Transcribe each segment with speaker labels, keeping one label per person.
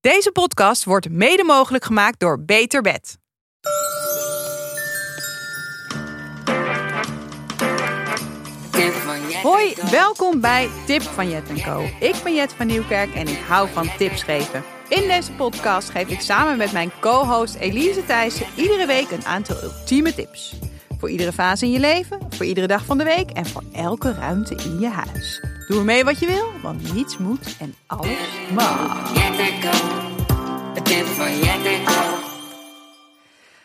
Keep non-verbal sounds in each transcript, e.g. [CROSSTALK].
Speaker 1: Deze podcast wordt mede mogelijk gemaakt door Beter Bed. Hoi, welkom bij Tip van Jet en Co. Ik ben Jet van Nieuwkerk en ik hou van tips geven. In deze podcast geef ik samen met mijn co-host Elise Thijssen iedere week een aantal ultieme tips. Voor iedere fase in je leven, voor iedere dag van de week en voor elke ruimte in je huis. Doe ermee wat je wil, want niets moet en alles mag.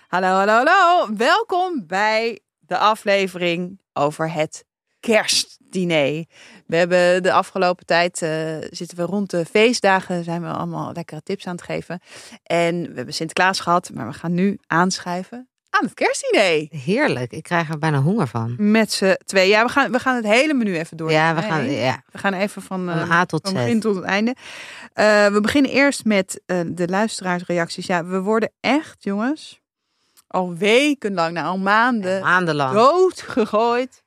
Speaker 1: Hallo, hallo, hallo. Welkom bij de aflevering over het kerstdiner. We hebben de afgelopen tijd, eh, zitten we rond de feestdagen, zijn we allemaal lekkere tips aan het geven. En we hebben Sinterklaas gehad, maar we gaan nu aanschuiven aan het kerstdiner.
Speaker 2: Heerlijk, ik krijg er bijna honger van.
Speaker 1: Met z'n twee. Ja, we gaan, we gaan het hele menu even door.
Speaker 2: Ja, we gaan,
Speaker 1: Nee,
Speaker 2: ja,
Speaker 1: we gaan even van, eh,
Speaker 2: van A tot
Speaker 1: van
Speaker 2: Z.
Speaker 1: begin tot het einde. Eh, we beginnen eerst met eh, de luisteraarsreacties. Ja, we worden echt, jongens, al wekenlang, nou al maanden,
Speaker 2: Maandenlang.
Speaker 1: doodgegooid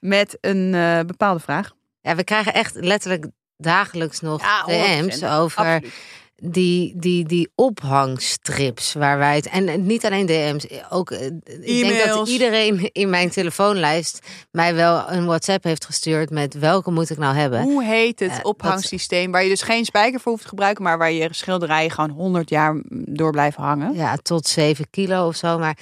Speaker 1: met een eh, bepaalde vraag.
Speaker 2: Ja, we krijgen echt letterlijk dagelijks nog
Speaker 1: Ja,
Speaker 2: DM's
Speaker 1: 100%,
Speaker 2: over
Speaker 1: Absoluut.
Speaker 2: die, die, die ophangstrips waar wij het... En niet alleen DM's, ook... eh, Ik denk dat
Speaker 1: E-mails.
Speaker 2: iedereen in mijn telefoonlijst mij wel een WhatsApp heeft gestuurd met welke moet ik nou hebben.
Speaker 1: Hoe heet het
Speaker 2: Eh, dat-
Speaker 1: ophangsysteem waar je dus geen spijker voor hoeft te gebruiken, maar waar je schilderijen gewoon 100 jaar door blijven hangen?
Speaker 2: Ja, tot 7 kilo of zo. Maar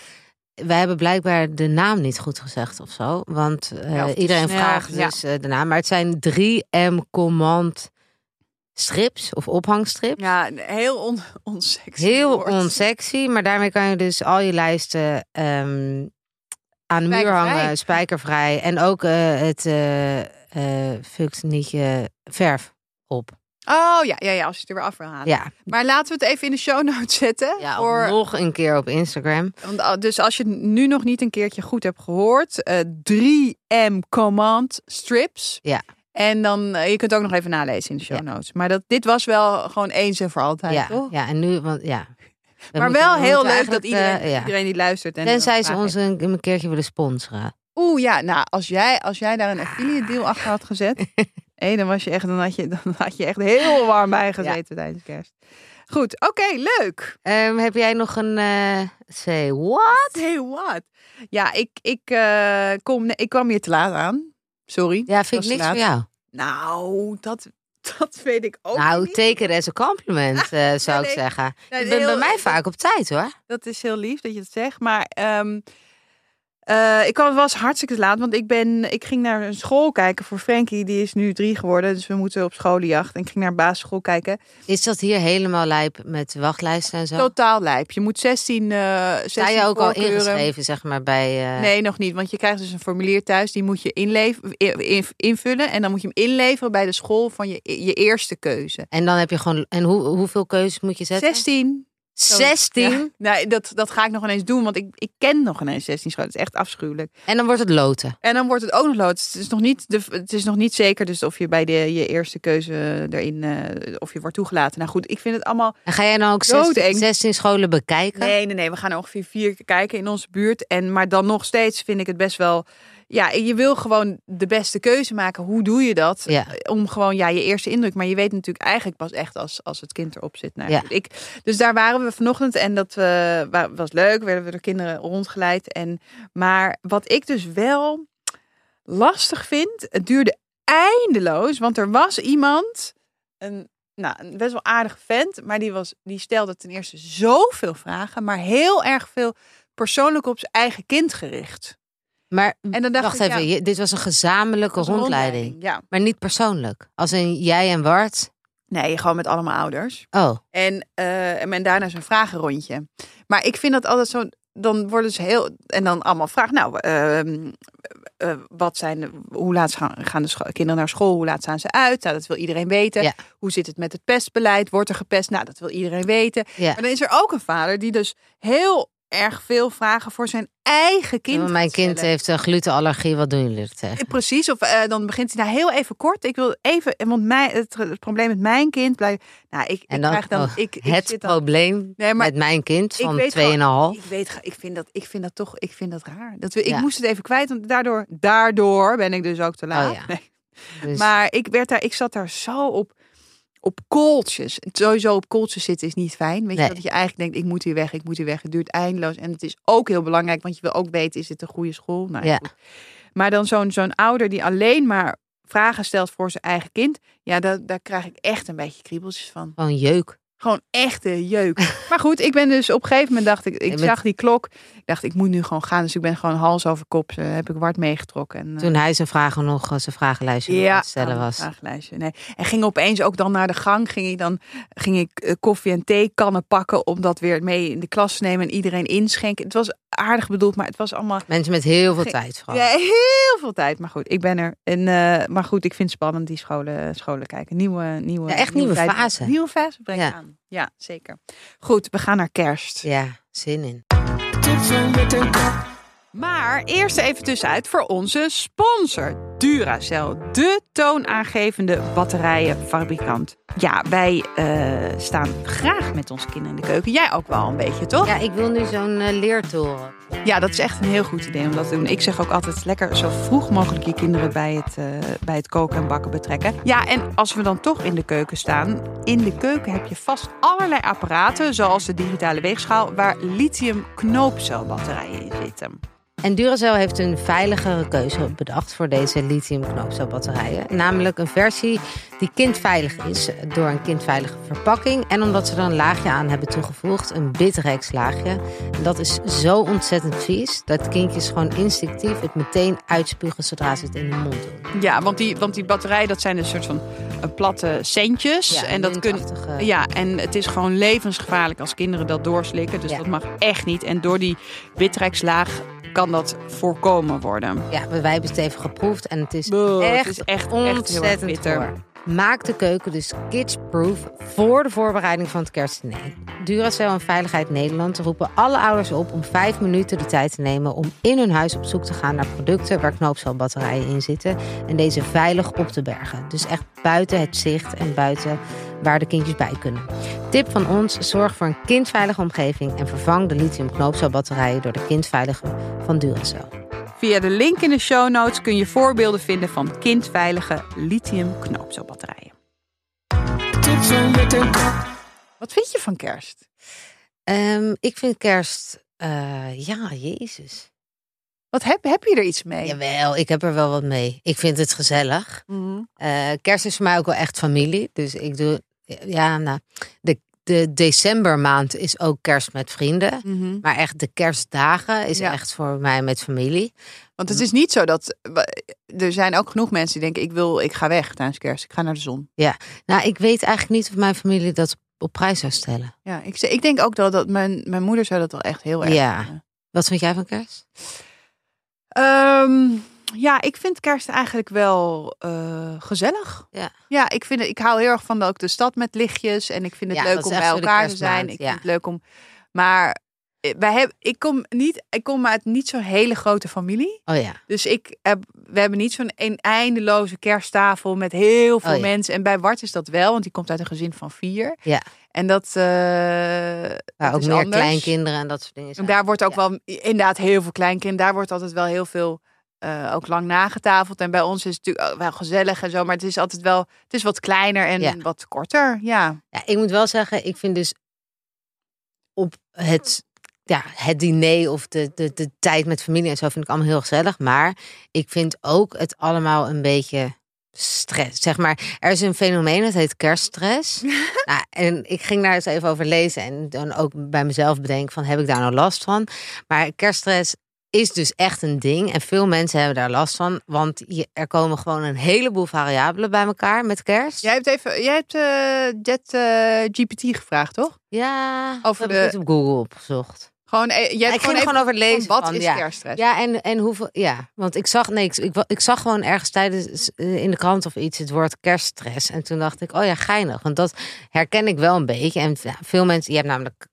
Speaker 2: wij hebben blijkbaar de naam niet goed gezegd of zo. Want eh,
Speaker 1: Ja, of te
Speaker 2: iedereen
Speaker 1: snel,
Speaker 2: vraagt
Speaker 1: ja.
Speaker 2: dus eh, de naam. Maar het zijn 3M Command strips of ophangstrips.
Speaker 1: Ja, een heel on, onsexy
Speaker 2: Heel
Speaker 1: woord.
Speaker 2: onsexy, maar daarmee kan je dus al je lijsten ehm, aan de muur
Speaker 1: Spijkervrij.
Speaker 2: hangen, spijkervrij. En ook eh, het eh eh, fukt niet je verf op.
Speaker 1: Oh ja, ja, ja, als je het er weer af wil halen.
Speaker 2: Ja,
Speaker 1: Maar laten we het even in de show notes zetten.
Speaker 2: ja of
Speaker 1: voor,
Speaker 2: nog een keer op Instagram.
Speaker 1: want, ah, dus als je het nu nog niet een keertje goed hebt gehoord, eh, 3M Command Strips.
Speaker 2: Ja.
Speaker 1: En dan, eh, je kunt ook nog even nalezen in de show notes. Maar dat, dit was wel gewoon eens en voor altijd,
Speaker 2: Ja,
Speaker 1: toch?
Speaker 2: ja, en nu, want ja.
Speaker 1: [LAUGHS]
Speaker 2: We
Speaker 1: maar
Speaker 2: moeten-
Speaker 1: wel
Speaker 2: we
Speaker 1: heel
Speaker 2: moeten
Speaker 1: leuk dat
Speaker 2: eigenlijk,
Speaker 1: iedereen,
Speaker 2: eh, ja.
Speaker 1: iedereen die luistert. En
Speaker 2: Tenzij ze
Speaker 1: vragen
Speaker 2: ons een, een keertje willen sponsoren.
Speaker 1: Oeh ja, nou als jij, als jij daar een affiliate deal achter had
Speaker 2: [LAUGHS]
Speaker 1: gezet, hé, dan, was je echt, dan, had je, dan had je echt heel warm bij gezeten tijdens kerst. Goed, oké, leuk.
Speaker 2: Ehm, heb jij nog een eh say what?
Speaker 1: Hey, what? Ja, ik, ik, eh, kom, nee, ik kwam hier te laat aan. Sorry.
Speaker 2: Ja, vind
Speaker 1: was
Speaker 2: ik niks
Speaker 1: laat.
Speaker 2: voor jou.
Speaker 1: Nou, dat, [LAUGHS] dat weet ik ook
Speaker 2: nou,
Speaker 1: niet.
Speaker 2: take it as a
Speaker 1: [LAUGHS]
Speaker 2: compliment, eh, zou
Speaker 1: nee.
Speaker 2: ik zeggen.
Speaker 1: Nee,
Speaker 2: je bent bij
Speaker 1: heel- eh,
Speaker 2: mij
Speaker 1: dat-
Speaker 2: vaak op tijd, hoor.
Speaker 1: Dat is heel lief dat je het zegt. Maar ehm, eh, ik kwam was hartstikke te laat. Want ik, ben, ik ging naar een school kijken voor Frankie. Die is nu drie geworden. Dus we moeten op scholenjacht. En ik ging naar een basisschool kijken.
Speaker 2: Is dat hier helemaal lijp met wachtlijsten en zo?
Speaker 1: Totaal lijp. Je moet 16, eh 16
Speaker 2: Sta je ook al
Speaker 1: voorkeuren.
Speaker 2: ingeschreven, zeg maar, bij... eh
Speaker 1: Nee, nog niet. Want je krijgt dus een formulier thuis. Die moet je inleven, invullen. En dan moet je hem inleveren bij de school van je, je eerste keuze.
Speaker 2: En dan heb je gewoon... En hoe, hoeveel keuzes moet je zetten?
Speaker 1: 16. Sorry.
Speaker 2: 16?
Speaker 1: [LAUGHS] Ja. Nou, dat, dat ga ik nog ineens doen. Want ik, ik ken nog ineens 16 scholen. Het is echt afschuwelijk.
Speaker 2: En dan wordt het loten.
Speaker 1: En dan wordt het ook nog lood. Het is nog niet, de, het is nog niet zeker dus of je bij de, je eerste keuze erin... eh, of je wordt toegelaten. Nou goed, ik vind het allemaal...
Speaker 2: En ga jij dan ook
Speaker 1: Doodeng.
Speaker 2: 16, 16 scholen bekijken?
Speaker 1: Nee, nee, nee. We gaan er ongeveer vier keer kijken in onze buurt. En, maar dan nog steeds vind ik het best wel... Ja, je wil gewoon de beste keuze maken. Hoe doe je dat?
Speaker 2: Ja.
Speaker 1: Om gewoon ja, je eerste indruk. Maar je weet natuurlijk eigenlijk pas echt als, als het kind erop zit. Nou,
Speaker 2: Ja.
Speaker 1: goed, ik, dus daar waren we vanochtend. En dat eh, wa- was leuk. Werden we door kinderen rondgeleid. En, maar wat ik dus wel lastig vind... Het duurde eindeloos. Want er was iemand... Een, nou, een best wel aardige vent, maar die, was, die stelde ten eerste zoveel vragen, maar heel erg veel persoonlijk op zijn eigen kind gericht.
Speaker 2: Maar
Speaker 1: En dan dacht
Speaker 2: wacht
Speaker 1: ik,
Speaker 2: even,
Speaker 1: ja,
Speaker 2: je- dit was een gezamenlijke
Speaker 1: dat is een
Speaker 2: rondleiding.
Speaker 1: Ja,
Speaker 2: Maar niet persoonlijk. Als in jij en Bart.
Speaker 1: nee, gewoon met allemaal ouders.
Speaker 2: Oh,
Speaker 1: En, eh, en daarna zo'n vragenrondje. Maar ik vind dat altijd zo. Dan worden ze heel. En dan allemaal vragen. Nou, ehm, eh, wat zijn. de- Hoe laat gaan, gaan de scho- kinderen naar school? Hoe laat staan ze uit? Nou, dat wil iedereen weten.
Speaker 2: Ja.
Speaker 1: Hoe zit het met het pestbeleid? Wordt er gepest? Nou, dat wil iedereen weten.
Speaker 2: ja.
Speaker 1: Maar dan is er ook een vader die dus heel erg veel vragen voor zijn eigen kind.
Speaker 2: Mijn
Speaker 1: gaat
Speaker 2: kind
Speaker 1: stellen.
Speaker 2: heeft een glutenallergie. Wat doen jullie er tegen?
Speaker 1: Precies, of eh, dan begint hij nou heel even kort. Ik wil even, want mij, het, het probleem met mijn kind blijft. Nou, ik, ik
Speaker 2: En dan,
Speaker 1: krijg dan.
Speaker 2: oh,
Speaker 1: ik, ik
Speaker 2: het
Speaker 1: zit dan,
Speaker 2: probleem
Speaker 1: Nee, maar
Speaker 2: met mijn kind
Speaker 1: ik
Speaker 2: van
Speaker 1: weet gewoon-
Speaker 2: 2,5.
Speaker 1: ik weet, ge- ik vind dat, ik vind dat toch, ik vind dat raar. Dat we, ik
Speaker 2: Ja.
Speaker 1: moest het even kwijt, want daardoor, daardoor ben ik dus ook te laat.
Speaker 2: Oh ja.
Speaker 1: Nee.
Speaker 2: Dus,
Speaker 1: Maar ik werd daar, ik zat daar zo op, op kooltjes. Sowieso op kooltjes zitten is niet fijn. Weet
Speaker 2: Nee.
Speaker 1: je, dat je eigenlijk denkt, ik moet hier weg, ik moet hier weg. Het duurt eindeloos. En het is ook heel belangrijk, want je wil ook weten, is dit een goede school? Nou,
Speaker 2: Ja.
Speaker 1: goed. Maar dan zo'n zo'n ouder die alleen maar vragen stelt voor zijn eigen kind. Ja, daar, daar krijg ik echt een beetje kriebeltjes van.
Speaker 2: Gewoon jeuk.
Speaker 1: Gewoon echte jeuk. Maar goed, ik ben dus op een gegeven moment dacht ik, ik
Speaker 2: Je bent-
Speaker 1: zag die klok. Ik dacht, ik moet nu gewoon gaan. Dus ik ben gewoon hals over kop, eh, heb ik Wart meegetrokken. En, eh,
Speaker 2: Toen hij zijn vragen nog, eh, zijn vragenlijstje nog aan het stellen
Speaker 1: aan het
Speaker 2: was.
Speaker 1: vragenlijstje, nee. En ging opeens ook dan naar de gang. Ging ik dan ging ik eh, koffie en thee kannen pakken om dat weer mee in de klas te nemen en iedereen inschenken. Het was aardig bedoeld, maar het was allemaal
Speaker 2: Mensen met heel veel
Speaker 1: Ge-
Speaker 2: tijd vooral.
Speaker 1: ja, heel veel tijd. Maar goed, ik ben er. En, eh, maar goed, ik vind het spannend die scholen, scholen kijken. Nieuwe, nieuwe,
Speaker 2: Ja, echt nieuwe
Speaker 1: tijd.
Speaker 2: fase.
Speaker 1: Nieuwe fase brengen
Speaker 2: Ja.
Speaker 1: aan. Ja, zeker. Goed, we gaan naar kerst.
Speaker 2: Ja, zin in.
Speaker 1: Maar eerst even tussenuit voor onze sponsor, Duracell, de toonaangevende batterijenfabrikant. Ja, wij eh, staan graag met onze kinderen in de keuken. Jij ook wel een beetje, toch? Ja.
Speaker 2: Ja, ik wil nu zo'n eh, leertoren.
Speaker 1: dat is echt een heel goed idee om dat te doen. Ik zeg ook altijd lekker zo vroeg mogelijk je kinderen bij het, eh, bij het koken en bakken betrekken. Ja, en als we dan toch in de keuken staan, in de keuken heb je vast allerlei apparaten, zoals de digitale weegschaal, waar lithium knoopcelbatterijen in zitten.
Speaker 2: En Duracell heeft een veiligere keuze bedacht voor deze lithium-knoopcelbatterijen. Namelijk een versie die kindveilig is door een kindveilige verpakking. En omdat ze er een laagje aan hebben toegevoegd, een Bitrex laagje. En dat is zo ontzettend vies dat kindjes gewoon instinctief het meteen uitspugen zodra ze het in de mond doen.
Speaker 1: Ja, want die, want die batterij, dat zijn een soort van eh, platte centjes. Dus en dat kun,
Speaker 2: muntachtige-
Speaker 1: ja, en het is gewoon levensgevaarlijk als kinderen dat doorslikken. Dus
Speaker 2: Ja.
Speaker 1: dat mag echt niet. En door die witrekslaag kan dat voorkomen worden.
Speaker 2: Ja, wij hebben het even geproefd en het is
Speaker 1: Buh, het
Speaker 2: echt,
Speaker 1: is echt- echt heel erg
Speaker 2: ontzettend
Speaker 1: bitter.
Speaker 2: goor. Maak de keuken dus kidsproof voor de voorbereiding van het kerstdiner. Duracell en Veiligheid Nederland roepen alle ouders op om vijf minuten de tijd te nemen om in hun huis op zoek te gaan naar producten waar knoopcelbatterijen in zitten en deze veilig op te bergen. Dus echt buiten het zicht en buiten waar de kindjes bij kunnen. Tip van ons: zorg voor een kindveilige omgeving en vervang de lithium knoopcelbatterijen door de kindveilige van Duracell.
Speaker 1: Via de link in de show notes kun je voorbeelden vinden van kindveilige lithium knoopcelbatterijen. Wat vind je van kerst?
Speaker 2: Ehm, ik vind kerst. eh, ja, Jezus.
Speaker 1: Wat heb, heb je er iets mee?
Speaker 2: Jawel, ik heb er wel wat mee. Ik vind het gezellig.
Speaker 1: Mhm.
Speaker 2: Eh, kerst is voor mij ook wel echt familie. Dus ik doe. Ja, nou. De, de decembermaand is ook kerst met vrienden.
Speaker 1: Mhm.
Speaker 2: Maar echt de kerstdagen is
Speaker 1: Ja.
Speaker 2: echt voor mij met familie.
Speaker 1: Want het is niet zo dat. Er zijn ook genoeg mensen die denken: ik wil, ik ga weg tijdens kerst. Ik ga naar de zon.
Speaker 2: Nou, ik weet eigenlijk niet of mijn familie dat op prijs zou stellen.
Speaker 1: Ja, ik, ik denk ook dat, dat mijn, mijn moeder zou dat wel echt heel erg.
Speaker 2: Ja.
Speaker 1: vinden.
Speaker 2: Wat vind jij van kerst?
Speaker 1: Ehm, ja, ik vind kerst eigenlijk wel eh, gezellig.
Speaker 2: Ja.
Speaker 1: ja ik, vind, het- ik hou heel erg van de, ook de stad met lichtjes. En ik vind het
Speaker 2: Ja, dat
Speaker 1: leuk
Speaker 2: is
Speaker 1: om
Speaker 2: echt
Speaker 1: bij
Speaker 2: zo de
Speaker 1: elkaar te
Speaker 2: kerstmaand,
Speaker 1: zijn. Ik
Speaker 2: ja.
Speaker 1: vind het leuk om. Maar eh, wij hebben, ik, kom niet, ik kom uit niet zo'n hele grote familie.
Speaker 2: Oh ja.
Speaker 1: Dus ik heb, we hebben niet zo'n een eindeloze kersttafel met heel veel
Speaker 2: Oh ja.
Speaker 1: mensen. En bij Wart is dat wel, want die komt uit een gezin van vier.
Speaker 2: Ja.
Speaker 1: En dat, eh,
Speaker 2: Maar
Speaker 1: dat
Speaker 2: ook
Speaker 1: is
Speaker 2: meer
Speaker 1: anders.
Speaker 2: kleinkinderen en dat soort dingen.
Speaker 1: En
Speaker 2: zijn.
Speaker 1: daar wordt ook
Speaker 2: Ja.
Speaker 1: wel inderdaad heel veel kleinkinderen. Daar wordt altijd wel heel veel eh, ook lang nagetafeld. En bij ons is het natuurlijk ook wel gezellig en zo. Maar het is altijd wel, het is wat kleiner en
Speaker 2: Ja.
Speaker 1: wat korter. Ja.
Speaker 2: Ja, ik moet wel zeggen, ik vind dus op het, ja, het diner of de, de, de tijd met familie en zo vind ik allemaal heel gezellig. Maar ik vind ook het allemaal een beetje stress. Zeg maar, er is een fenomeen, dat heet kerststress. nou, en ik ging daar eens even over lezen en dan ook bij mezelf bedenken van heb ik daar nou last van? Maar kerststress is dus echt een ding en veel mensen hebben daar last van, want je, er komen gewoon een heleboel variabelen bij elkaar met kerst.
Speaker 1: Jij hebt even, jij hebt eh, Jet GPT gevraagd, toch?
Speaker 2: Ja, dat
Speaker 1: Over
Speaker 2: heb
Speaker 1: de-
Speaker 2: ik niet op Google opgezocht. Ah,
Speaker 1: Gewoon, jij
Speaker 2: Ik
Speaker 1: hebt
Speaker 2: ging
Speaker 1: gewoon
Speaker 2: er gewoon over lezen.
Speaker 1: wat
Speaker 2: van,
Speaker 1: is
Speaker 2: ja.
Speaker 1: kerststress?
Speaker 2: Ja, en, en hoeveel. Ja, want ik zag, nee, ik, ik, wa- ik zag gewoon ergens tijdens eh, in de krant of iets het woord kerststress. En toen dacht ik, oh ja, geinig. Want dat herken ik wel een beetje. En ja, veel mensen, je hebt namelijk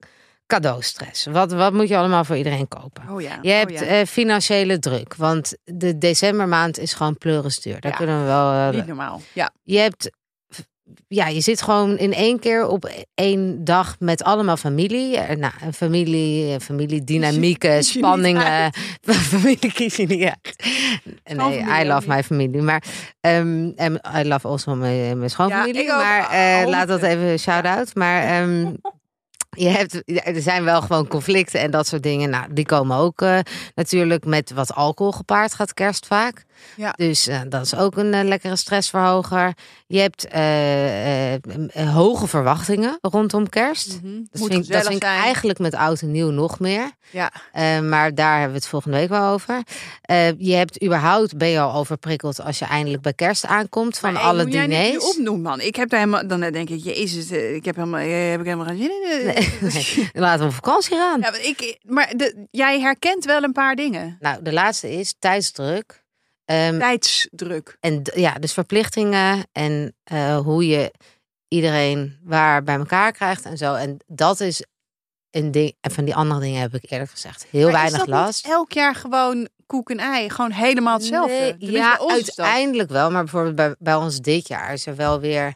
Speaker 2: cadeaustress. Wat, wat moet je allemaal voor iedereen kopen?
Speaker 1: Oh ja.
Speaker 2: Je hebt eh, financiële druk, want de decembermaand is gewoon pleurisduur. Daar
Speaker 1: Ja.
Speaker 2: kunnen we wel. eh,
Speaker 1: niet normaal. Ja.
Speaker 2: je hebt v- ja, je zit gewoon in één keer op één dag met allemaal familie. Eh, Nou, een familie, eh, familiedynamieken,
Speaker 1: Kies je- kies je niet
Speaker 2: spanningen. [LAUGHS] familie kies je niet uit. Nee,
Speaker 1: familie
Speaker 2: I
Speaker 1: ook
Speaker 2: love
Speaker 1: niet.
Speaker 2: my familie. Maar ehm, en I love also mijn, mijn schoonfamilie.
Speaker 1: ik ook.
Speaker 2: maar eh,
Speaker 1: Ah,
Speaker 2: laat dat
Speaker 1: honderd.
Speaker 2: even shout-out. Maar
Speaker 1: [LAUGHS]
Speaker 2: ehm, je hebt, ja, er zijn wel gewoon conflicten en dat soort dingen. Nou, die komen ook eh, natuurlijk met wat alcohol gepaard gaat kerst vaak.
Speaker 1: Ja.
Speaker 2: Dus eh, dat is ook een eh, lekkere stressverhoger. Je hebt eh, eh, m- eh, hoge verwachtingen rondom kerst. Mhm. Dat
Speaker 1: Mhm. Moet
Speaker 2: vind, ik- dat
Speaker 1: gezellig
Speaker 2: vind ik
Speaker 1: zijn.
Speaker 2: eigenlijk met oud en nieuw nog meer.
Speaker 1: Ja.
Speaker 2: Eh, maar daar hebben we het volgende week wel over. Eh, je hebt überhaupt, ben je al overprikkeld als je eindelijk bij kerst aankomt van
Speaker 1: Maar, hey,
Speaker 2: alle
Speaker 1: moet jij niet
Speaker 2: diners.
Speaker 1: nu opnoemen, man. Ik heb daar helemaal... Dan denk ik, jezus, eh, ik heb, helemaal, eh, heb ik helemaal geen zin in. eh.
Speaker 2: Nee, [LAUGHS] Laten we op vakantie gaan.
Speaker 1: [LAUGHS] Ja, maar ik, maar de, jij herkent wel een paar dingen.
Speaker 2: Nou, de laatste is tijdsdruk. Ehm,
Speaker 1: Tijdsdruk.
Speaker 2: En d- ja, dus verplichtingen en eh, hoe je iedereen waar bij elkaar krijgt en zo. En dat is een ding. En van die andere dingen heb ik eerlijk gezegd heel
Speaker 1: Maar is
Speaker 2: weinig
Speaker 1: dat niet
Speaker 2: last.
Speaker 1: elk jaar gewoon koek en ei. Gewoon helemaal hetzelfde.
Speaker 2: Nee,
Speaker 1: Tenminste,
Speaker 2: ja,
Speaker 1: bij ons is dat.
Speaker 2: uiteindelijk wel. Maar bijvoorbeeld bij, bij ons dit jaar is er wel weer.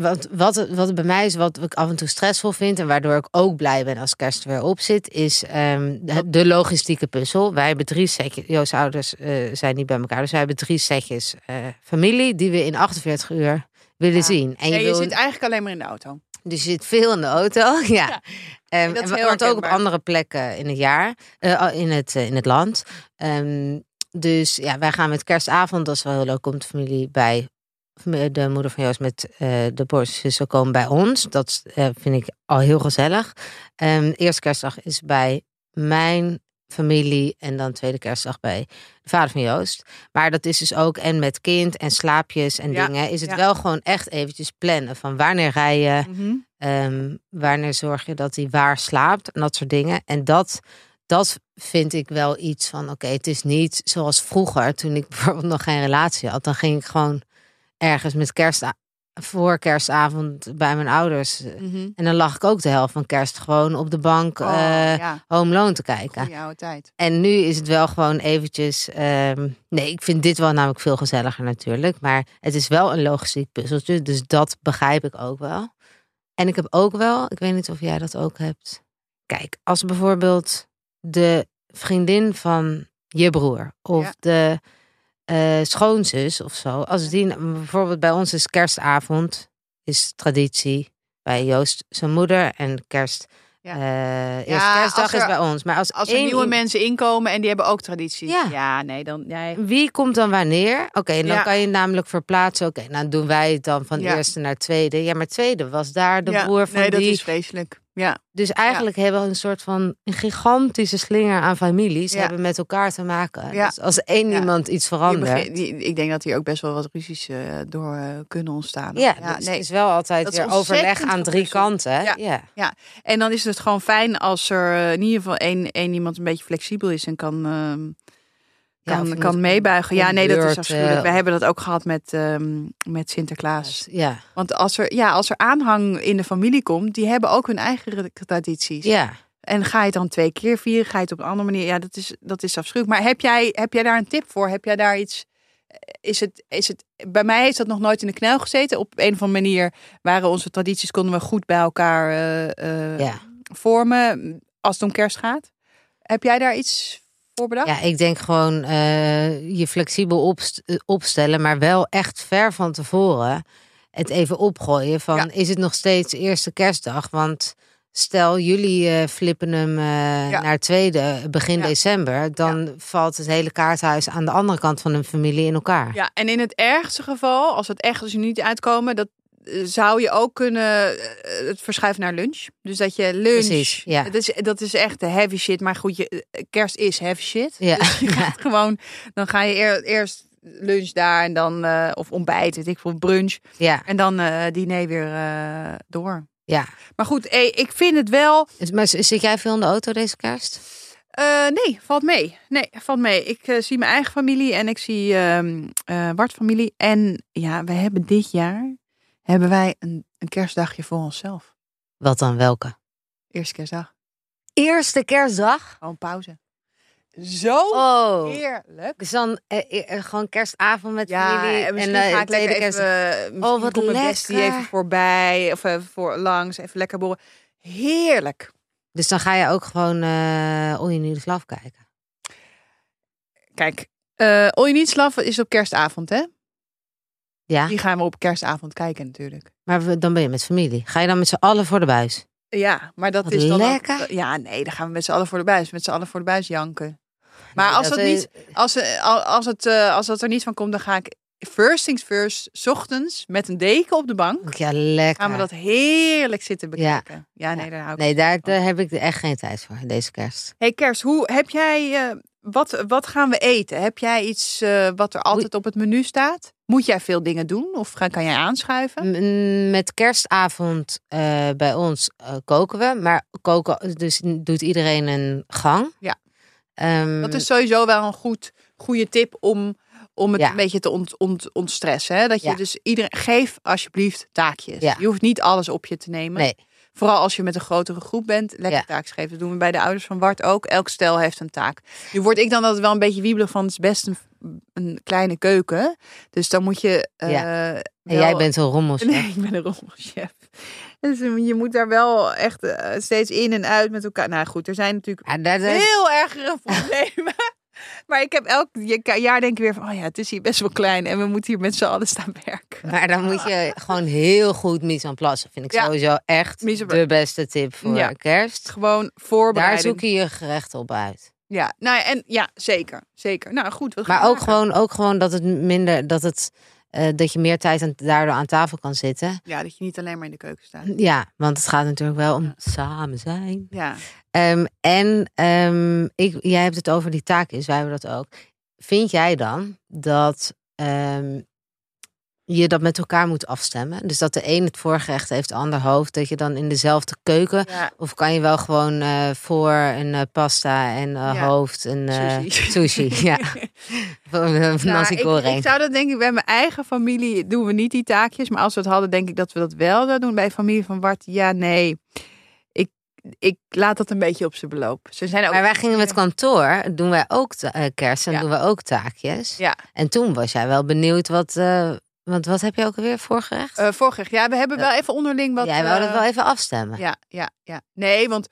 Speaker 2: Want wat, het- wat het bij mij is, wat ik af en toe stressvol vind en waardoor ik ook blij ben als kerst er weer op zit, is ehm, de, de logistieke puzzel. Wij hebben drie setjes, Joost ouders eh, zijn niet bij elkaar, dus wij hebben drie setjes eh, familie die we in 48 uur willen
Speaker 1: Ja.
Speaker 2: zien. En je,
Speaker 1: Nee, je
Speaker 2: wil,
Speaker 1: zit eigenlijk alleen maar in de auto.
Speaker 2: dus je zit veel in de auto, [LAUGHS] ja.
Speaker 1: Ja.
Speaker 2: Ehm,
Speaker 1: dat is
Speaker 2: en-
Speaker 1: heel
Speaker 2: want ook op
Speaker 1: herkenbaar.
Speaker 2: andere plekken in het jaar, eh, in, het, eh, in het land. Ehm, dus ja, wij gaan met kerstavond, dat is wel heel leuk, komt de familie bij eh, de moeder van Joost met eh, de borstjes zo komen bij ons. Dat is, eh, vind ik al heel gezellig. Ehm eerste kerstdag is bij mijn familie en dan tweede kerstdag bij de vader van Joost. Maar dat is dus ook en met kind en slaapjes en
Speaker 1: Ja,
Speaker 2: dingen is het
Speaker 1: ja.
Speaker 2: wel gewoon echt eventjes plannen van wanneer rij je,
Speaker 1: Mhm,
Speaker 2: Ehm, wanneer zorg je dat hij waar slaapt en dat soort dingen. En dat, dat vind ik wel iets van: oké, het is niet zoals vroeger, toen ik [LAUGHS] bijvoorbeeld nog geen relatie had. Dan ging ik gewoon ergens met kerst voor kerstavond bij mijn ouders.
Speaker 1: Mhm.
Speaker 2: En dan lag ik ook de helft van kerst gewoon op de bank
Speaker 1: Oh,
Speaker 2: eh,
Speaker 1: ja,
Speaker 2: home loan te kijken.
Speaker 1: goeie oude tijd.
Speaker 2: En nu is het wel gewoon eventjes. ehm, nee, ik vind dit wel namelijk veel gezelliger natuurlijk. Maar het is wel een logistiek puzzeltje. Dus dat begrijp ik ook wel. En ik heb ook wel, ik weet niet of jij dat ook hebt. Kijk, als bijvoorbeeld de vriendin van je broer of
Speaker 1: Ja.
Speaker 2: de eh, schoonzus of zo. Als die bijvoorbeeld bij ons is kerstavond, is traditie bij Joost zijn moeder en kerst.
Speaker 1: Ja.
Speaker 2: eh eerste
Speaker 1: Ja,
Speaker 2: kerstdag
Speaker 1: als er-
Speaker 2: is bij ons. Maar als,
Speaker 1: Als er
Speaker 2: één
Speaker 1: nieuwe
Speaker 2: iemand-
Speaker 1: mensen inkomen en die hebben ook tradities.
Speaker 2: Ja.
Speaker 1: nee, dan... Nee.
Speaker 2: wie komt dan wanneer? Oké, en dan
Speaker 1: Ja.
Speaker 2: kan je namelijk verplaatsen. Oké, nou doen wij het dan van
Speaker 1: Ja.
Speaker 2: eerste naar tweede. Ja, maar tweede was daar de
Speaker 1: Ja,
Speaker 2: broer van
Speaker 1: Nee, dat
Speaker 2: die.
Speaker 1: is vreselijk. Ja,
Speaker 2: Dus eigenlijk hebben we een soort van een gigantische slinger aan families.
Speaker 1: Ja.
Speaker 2: Hebben met elkaar te maken.
Speaker 1: Ja.
Speaker 2: Dus als één
Speaker 1: Ja.
Speaker 2: iemand iets
Speaker 1: Je
Speaker 2: verandert.
Speaker 1: begint- die- ik denk dat hier ook best wel wat ruzies eh, door eh, kunnen ontstaan.
Speaker 2: Ja, dus het is wel altijd
Speaker 1: Dat is
Speaker 2: weer overleg
Speaker 1: ontzettend
Speaker 2: aan drie
Speaker 1: gepuzzel.
Speaker 2: kanten. hè?
Speaker 1: Ja.
Speaker 2: ja.
Speaker 1: En dan is het gewoon fijn als er eh, in ieder geval één, één iemand een beetje flexibel is en kan, ehm,
Speaker 2: Ja,
Speaker 1: kan,
Speaker 2: of
Speaker 1: kan
Speaker 2: met-
Speaker 1: meebuigen. Ja,
Speaker 2: om
Speaker 1: nee, dat
Speaker 2: beurt,
Speaker 1: is
Speaker 2: eh,
Speaker 1: afschuwelijk. We hebben dat ook gehad met, ehm, met Sinterklaas.
Speaker 2: Ja.
Speaker 1: Want als er, ja, als er aanhang in de familie komt, die hebben ook hun eigen re- tradities.
Speaker 2: ja.
Speaker 1: En ga je het dan twee keer vieren, ga je het op een andere manier. Ja, dat is, dat is afschuwelijk. Maar heb jij, heb jij daar een tip voor? Heb jij daar iets... Is het, is het, bij mij heeft dat nog nooit in de knel gezeten. Op een of andere manier waren onze tradities, konden we goed bij elkaar eh, eh,
Speaker 2: ja.
Speaker 1: vormen als het om kerst gaat. Heb jij daar iets voor bedacht?
Speaker 2: Ja, ik denk gewoon eh, je flexibel opst- eh, opstellen, maar wel echt ver van tevoren het even opgooien van
Speaker 1: Ja.
Speaker 2: is het nog steeds eerste kerstdag? Want stel jullie eh, flippen hem eh,
Speaker 1: Ja.
Speaker 2: naar tweede begin
Speaker 1: Ja.
Speaker 2: december, dan valt het hele kaarthuis aan de andere kant van een familie in elkaar.
Speaker 1: Ja, en in het ergste geval, als het echt als je niet uitkomen, dat eh, zou je ook kunnen eh, het verschuiven naar lunch. Dus dat je lunch.
Speaker 2: Precies, ja.
Speaker 1: Dat is, dat is echt de heavy shit. Maar goed, je, eh, kerst is heavy shit.
Speaker 2: Ja.
Speaker 1: Dus je gaat gewoon, dan ga je eer- eerst lunch daar en dan eh, of ontbijt, weet ik veel, brunch
Speaker 2: Ja,
Speaker 1: en dan eh diner weer eh, door.
Speaker 2: ja.
Speaker 1: Maar goed, eh, ik vind het wel.
Speaker 2: Is- Dus, Maar z- zit jij veel in de auto deze kerst?
Speaker 1: eh, nee, valt mee. Nee, valt mee. Ik eh, zie mijn eigen familie en ik zie ehm eh Bart familie. En ja, we hebben dit jaar hebben wij een, een kerstdagje voor onszelf.
Speaker 2: Wat dan welke?
Speaker 1: Eerste kerstdag.
Speaker 2: Eerste kerstdag?
Speaker 1: Gewoon pauze. zo
Speaker 2: Oh.
Speaker 1: heerlijk.
Speaker 2: Dus dan eh, eh, gewoon kerstavond met
Speaker 1: Ja,
Speaker 2: familie.
Speaker 1: en misschien
Speaker 2: eh,
Speaker 1: ga ik
Speaker 2: tweede
Speaker 1: lekker
Speaker 2: kerst-
Speaker 1: even... eh, Misschien
Speaker 2: Oh, wat
Speaker 1: komt mijn bestie
Speaker 2: lekker.
Speaker 1: even voorbij. Of even voor langs. Even lekker borrelen. Heerlijk.
Speaker 2: Dus dan ga je ook gewoon eh All You Need Is Love kijken.
Speaker 1: Kijk, eh All You Need Is Love is op kerstavond, hè?
Speaker 2: Ja,
Speaker 1: Die gaan we op kerstavond kijken natuurlijk.
Speaker 2: maar we- dan ben je met familie. Ga je dan met z'n allen voor de buis?
Speaker 1: Ja, maar dat
Speaker 2: Wat
Speaker 1: is dan ook- eh,
Speaker 2: lekker.
Speaker 1: ja, nee, dan gaan we met z'n allen voor de buis. Met z'n allen voor de buis janken. Maar als dat
Speaker 2: eh,
Speaker 1: niet... Als, eh, al- als, het, eh, als dat er niet van komt, dan ga ik first things first, 's ochtends met een deken op de bank.
Speaker 2: Ja, lekker.
Speaker 1: Gaan we dat heerlijk zitten
Speaker 2: Ja.
Speaker 1: bekijken. Ja, nee, daar hou ik
Speaker 2: Nee, daar, daar heb ik echt geen tijd voor deze kerst.
Speaker 1: Hey Kers, hoe heb jij eh, wat, wat gaan we eten? Heb jij iets eh, wat er altijd op het menu staat? Moet jij veel dingen doen of ga- kan jij aanschuiven?
Speaker 2: M- Met kerstavond eh, bij ons eh, koken we. Maar koken, dus doet iedereen een gang.
Speaker 1: Ja.
Speaker 2: Ehm,
Speaker 1: Dat is sowieso wel een goed, goede tip om, om het
Speaker 2: Ja.
Speaker 1: een beetje te ont, ont, ontstressen. Hè? Dat je
Speaker 2: Ja.
Speaker 1: dus iedereen geef alsjeblieft taakjes.
Speaker 2: Ja.
Speaker 1: Je hoeft niet alles op je te nemen.
Speaker 2: Nee,
Speaker 1: Vooral als je met een grotere groep bent, lekker
Speaker 2: Ja.
Speaker 1: taakjes geven. Dat doen we bij de ouders van Wart ook. Elk stel heeft een taak. Nu word ik dan altijd wel een beetje wiebelig van het is best een, een kleine keuken. Dus dan moet je. eh,
Speaker 2: en
Speaker 1: wel- [LAUGHS]
Speaker 2: jij bent een rommel.
Speaker 1: Nee, ik ben een rommelchef. Dus je moet daar wel echt eh, steeds in en uit met elkaar. Nou goed, er zijn natuurlijk
Speaker 2: Maar daar, daar-
Speaker 1: heel ergere [LAUGHS] problemen. Maar ik heb elk je- jaar denk ik weer van, oh ja, het is hier best wel klein en we moeten hier met z'n allen staan werken.
Speaker 2: Maar dan moet je
Speaker 1: [LAUGHS]
Speaker 2: gewoon heel goed mise en place. Vind ik
Speaker 1: Ja.
Speaker 2: sowieso echt
Speaker 1: Mise en place.
Speaker 2: de beste tip voor
Speaker 1: Ja.
Speaker 2: kerst.
Speaker 1: Gewoon
Speaker 2: Daar
Speaker 1: voorbereiding.
Speaker 2: zoek je je gerecht op uit.
Speaker 1: Ja, nou ja, en ja, zeker, zeker. Nou goed, we gaan
Speaker 2: Maar ook
Speaker 1: maken.
Speaker 2: gewoon, ook gewoon dat het minder, dat, het, eh, dat je meer tijd aan, daardoor aan tafel kan zitten.
Speaker 1: Ja, dat je niet alleen maar in de keuken staat.
Speaker 2: Ja, want het gaat natuurlijk wel om
Speaker 1: Ja.
Speaker 2: samen zijn.
Speaker 1: Ja,
Speaker 2: Ehm, en ehm, ik, jij hebt het over die taak is, wij hebben dat ook. Vind jij dan dat ehm, je dat met elkaar moet afstemmen? Dus dat de een het voorgerecht heeft, de ander hoofd. Dat je dan in dezelfde keuken.
Speaker 1: ja
Speaker 2: Of kan je wel gewoon eh, voor een eh, pasta en eh,
Speaker 1: Ja.
Speaker 2: hoofd een eh,
Speaker 1: [LAUGHS] Sushi.
Speaker 2: sushi, ja. Of een eh,
Speaker 1: Nou,
Speaker 2: nasi
Speaker 1: ik,
Speaker 2: goreng.
Speaker 1: ik zou dat denk ik bij mijn eigen familie doen we niet die taakjes. Maar als we het hadden, denk ik dat we dat wel zouden doen. Bij familie van Bart, ja, nee. Ik, ik laat dat een beetje op zijn beloop. Ze zijn ook.
Speaker 2: Maar wij gingen met kantoor, doen wij ook ta- eh, kerst en
Speaker 1: Ja.
Speaker 2: doen we ook taakjes.
Speaker 1: Ja.
Speaker 2: En toen was jij wel benieuwd wat, eh, want wat heb je ook alweer voorgerecht?
Speaker 1: Eh, vorig jaar, we hebben wel even onderling wat.
Speaker 2: jij wou dat
Speaker 1: eh,
Speaker 2: wel even afstemmen.
Speaker 1: Ja, ja, ja. Nee, want.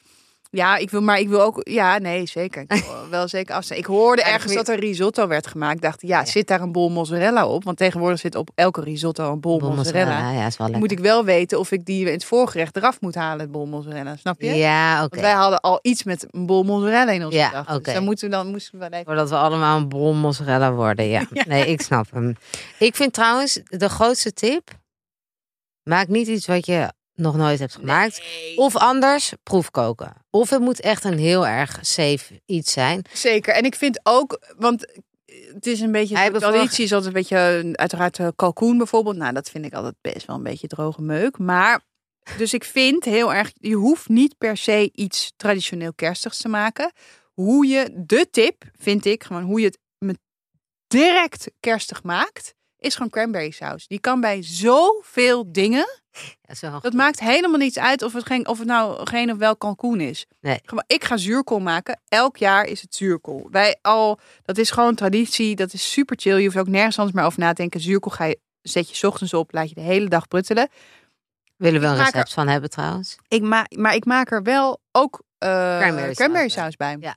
Speaker 1: Ja, ik wil, maar ik wil ook. Ja, nee, zeker. Ik wil wel zeker afstaan. Ik hoorde
Speaker 2: [LAUGHS] Maar dat
Speaker 1: ergens
Speaker 2: moet-
Speaker 1: dat er risotto werd gemaakt. Ik dacht, ja,
Speaker 2: Ja.
Speaker 1: zit daar een bol mozzarella op? Want tegenwoordig zit op elke risotto een bol,
Speaker 2: Bol
Speaker 1: mozzarella.
Speaker 2: mozzarella, Ja, is wel lekker.
Speaker 1: Moet ik wel weten of ik die in het voorgerecht eraf moet halen, het bol mozzarella. Snap je?
Speaker 2: Ja, oké.
Speaker 1: Want wij hadden al iets met een bol mozzarella in ons
Speaker 2: Ja,
Speaker 1: dag.
Speaker 2: oké.
Speaker 1: Dus dan moeten we dan moesten we wel even.
Speaker 2: Voordat we allemaal een bron mozzarella worden,
Speaker 1: [LAUGHS]
Speaker 2: ja. Nee, ik snap hem. Ik vind trouwens, de grootste tip... Maak niet iets wat je nog nooit hebt gemaakt. Of anders, proefkoken. Of het moet echt een heel erg safe iets zijn.
Speaker 1: Zeker. En ik vind ook, want eh, het is een beetje
Speaker 2: Wij
Speaker 1: de
Speaker 2: hebben vorig-
Speaker 1: traditie, is altijd een beetje eh, uiteraard eh, kalkoen bijvoorbeeld. Nou, dat vind ik altijd best wel een beetje droge meuk. Maar dus ik vind heel erg, je hoeft niet per se iets traditioneel kerstigs te maken. Hoe je de tip, vind ik, gewoon hoe je het met direct kerstig maakt, is gewoon cranberry saus. Die kan bij zoveel dingen.
Speaker 2: Ja, zo
Speaker 1: Dat maakt helemaal niets uit of het, geen, of het nou geen of wel kalkoen is.
Speaker 2: Nee.
Speaker 1: Gewoon, Ik ga zuurkool maken. Elk jaar is het zuurkool. Wij al, dat is gewoon traditie. Dat is super chill. Je hoeft ook nergens anders meer over na te denken. Zuurkool ga je, zet je 's ochtends op. Laat je de hele dag pruttelen.
Speaker 2: Willen we een
Speaker 1: maak er-
Speaker 2: recept van hebben trouwens?
Speaker 1: Ik ma maar ik maak er wel ook eh cranberry,
Speaker 2: saus
Speaker 1: saus bij.
Speaker 2: Ja,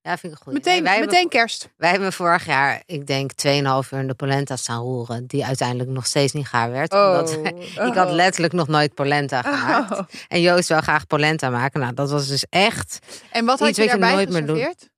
Speaker 2: Ja, vind ik goed.
Speaker 1: Meteen,
Speaker 2: wij,
Speaker 1: meteen
Speaker 2: Hebben,
Speaker 1: kerst.
Speaker 2: wij hebben vorig jaar, ik denk, 2,5 uur in de polenta staan roeren. Die uiteindelijk nog steeds niet gaar werd. Oh. Omdat [LAUGHS] ik had letterlijk nog nooit polenta gemaakt.
Speaker 1: Oh.
Speaker 2: En Joost wil graag polenta maken. Nou, dat was dus echt.
Speaker 1: En wat had
Speaker 2: Iets
Speaker 1: je
Speaker 2: wat je
Speaker 1: daarbij
Speaker 2: nooit meer doet.
Speaker 1: geserveerd?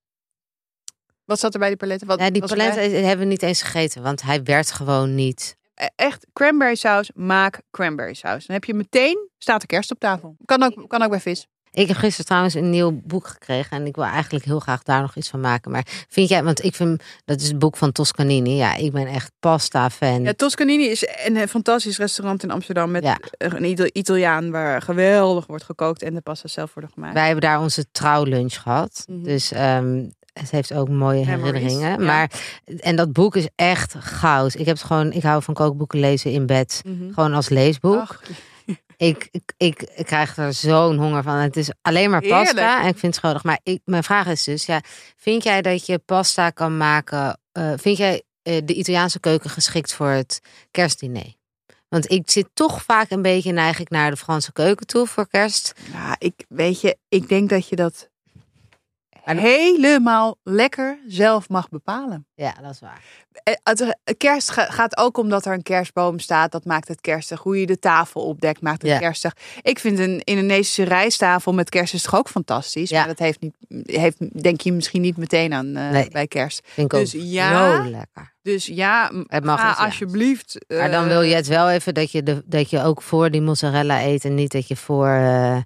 Speaker 1: Wat zat er bij die paletten? Wat,
Speaker 2: Ja, die
Speaker 1: was erbij?
Speaker 2: polenta hebben we niet eens gegeten, want hij werd gewoon niet.
Speaker 1: E, echt cranberry saus, maak cranberry saus. Dan heb je meteen, staat de kerst op tafel. Kan ook, kan ook bij vis.
Speaker 2: Ik heb gisteren trouwens een nieuw boek gekregen en ik wil eigenlijk heel graag daar nog iets van maken. Maar vind jij, want ik vind dat is het boek van Toscanini. Ja, ik ben echt pasta fan.
Speaker 1: Ja, Toscanini is een eh, fantastisch restaurant in Amsterdam met eh,
Speaker 2: Ja.
Speaker 1: een Ita- Italiaan waar geweldig wordt gekookt en de pasta zelf worden gemaakt.
Speaker 2: Wij hebben daar onze trouwlunch gehad.
Speaker 1: Mhm.
Speaker 2: Dus ehm, het heeft ook mooie
Speaker 1: Memories,
Speaker 2: herinneringen.
Speaker 1: ja.
Speaker 2: Maar, en dat boek is echt goud. Ik heb het gewoon, ik hou van kookboeken lezen in bed.
Speaker 1: Mhm.
Speaker 2: Gewoon als leesboek.
Speaker 1: Ach,
Speaker 2: Ik, ik, ik, ik krijg er zo'n honger van. Het is alleen maar pasta
Speaker 1: Heerlijk.
Speaker 2: en ik vind het schuldig. Maar ik, mijn vraag is dus, ja, vind jij dat je pasta kan maken? eh, vind jij eh, de Italiaanse keuken geschikt voor het kerstdiner? Want ik zit toch vaak een beetje neig ik naar de Franse keuken toe voor kerst.
Speaker 1: Ja, ik weet je, ik denk dat je dat
Speaker 2: Maar de-
Speaker 1: helemaal lekker zelf mag bepalen.
Speaker 2: Ja, dat is waar.
Speaker 1: Eh, het- eh, Kerst ga- gaat ook omdat er een kerstboom staat. Dat maakt het kerstig. Hoe je de tafel opdekt maakt het
Speaker 2: Ja.
Speaker 1: kerstig. Ik vind een Indonesische rijsttafel met kerst is toch ook fantastisch.
Speaker 2: Ja.
Speaker 1: Maar dat heeft niet, heeft, denk je misschien niet meteen aan eh,
Speaker 2: Nee.
Speaker 1: bij kerst.
Speaker 2: Vind ik
Speaker 1: Dus
Speaker 2: ook
Speaker 1: ja,
Speaker 2: zo lekker.
Speaker 1: Dus ja, m-
Speaker 2: Het mag
Speaker 1: ga
Speaker 2: niet, ja.
Speaker 1: alsjeblieft. eh,
Speaker 2: Maar dan wil je het wel even dat je, de, dat je ook voor die mozzarella eet en niet dat je voor eh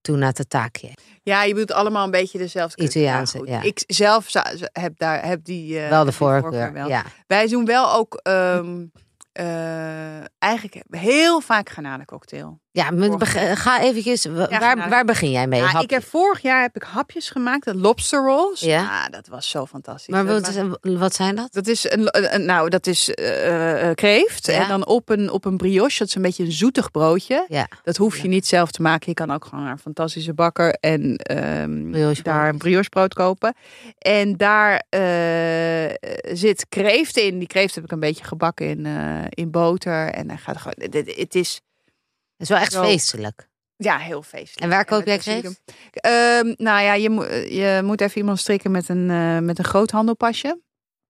Speaker 2: tuna tataki eet.
Speaker 1: Ja, je bedoelt allemaal een beetje dezelfde keuken.
Speaker 2: Italiaanse,
Speaker 1: goed.
Speaker 2: ja.
Speaker 1: Ik zelf zou- z- heb, daar, heb die, eh,
Speaker 2: wel de
Speaker 1: die
Speaker 2: voorkeur.
Speaker 1: wel.
Speaker 2: Ja.
Speaker 1: Wij doen wel ook ehm, eh, eigenlijk heel vaak granalencocktail.
Speaker 2: Ja, maar beg- eh, ga eventjes. wa-
Speaker 1: Ja,
Speaker 2: waar,
Speaker 1: nou,
Speaker 2: waar begin jij mee?
Speaker 1: Ja,
Speaker 2: Hap-
Speaker 1: ik heb vorig jaar heb ik hapjes gemaakt, de lobster rolls.
Speaker 2: Ja.
Speaker 1: Ja, dat was zo fantastisch.
Speaker 2: maar
Speaker 1: dat,
Speaker 2: wat,
Speaker 1: maakt-
Speaker 2: wat zijn dat?
Speaker 1: dat is een, een- een- nou, dat is eh, eh, kreeft
Speaker 2: Ja.
Speaker 1: en dan op een op een brioche. Dat is een beetje een zoetig broodje.
Speaker 2: Ja.
Speaker 1: Dat hoef je niet zelf te maken. Je kan ook gewoon naar een fantastische bakker en ehm,
Speaker 2: Briochebrood.
Speaker 1: daar een briochebrood kopen. En daar eh, zit kreeft in. Die kreeft heb ik een beetje gebakken in, eh, in boter en dan gaat er gewoon. dit- dit- Het is
Speaker 2: Het is wel echt
Speaker 1: Zo.
Speaker 2: feestelijk.
Speaker 1: ja, heel feestelijk.
Speaker 2: En waar koop
Speaker 1: met
Speaker 2: jij
Speaker 1: plezier doen. Ehm, nou ja, je, moet- je moet even iemand strikken met een, eh met een groothandelpasje.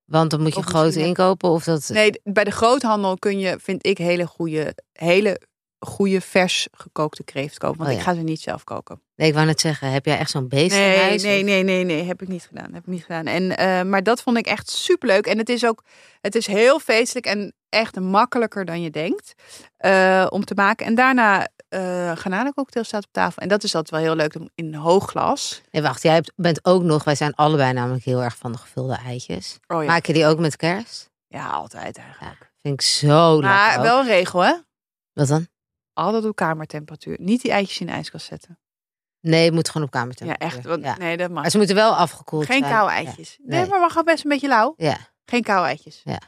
Speaker 2: Want dan moet je
Speaker 1: Of
Speaker 2: groot
Speaker 1: misschien heb-
Speaker 2: inkopen of dat.
Speaker 1: Nee, d- bij de groothandel kun je, vind ik, hele goede, hele goede vers gekookte kreeft kopen. Want
Speaker 2: Oh
Speaker 1: ik
Speaker 2: ja.
Speaker 1: ga ze niet zelf koken.
Speaker 2: Nee, ik wou net zeggen, heb jij echt zo'n beest in
Speaker 1: Nee,
Speaker 2: huis?
Speaker 1: nee,
Speaker 2: Of-
Speaker 1: nee, nee, nee, heb ik niet gedaan. Heb ik niet gedaan. En, eh, maar dat vond ik echt superleuk. En het is ook, het is heel feestelijk en echt makkelijker dan je denkt eh, om te maken. En daarna eh granalencocktail staat op tafel. En dat is altijd wel heel leuk in een hoog glas.
Speaker 2: Nee, wacht, jij hebt- bent ook nog. Wij zijn allebei namelijk heel erg van de gevulde eitjes.
Speaker 1: Oh
Speaker 2: Maak je die ook met kerst?
Speaker 1: Ja, altijd eigenlijk.
Speaker 2: Vind ik zo lekker.
Speaker 1: maar
Speaker 2: ook.
Speaker 1: wel een regel, hè?
Speaker 2: Wat dan?
Speaker 1: Altijd op kamertemperatuur. Niet die eitjes in de ijskast zetten.
Speaker 2: Nee, het moet gewoon op kamer.
Speaker 1: Ja, echt. Want, Nee, dat mag.
Speaker 2: Maar ze moeten wel afgekoeld
Speaker 1: Geen
Speaker 2: zijn.
Speaker 1: koude eitjes. Nee,
Speaker 2: Nee.
Speaker 1: maar mag wel best een beetje lauw.
Speaker 2: Ja. ja.
Speaker 1: Geen koude eitjes.
Speaker 2: Ja,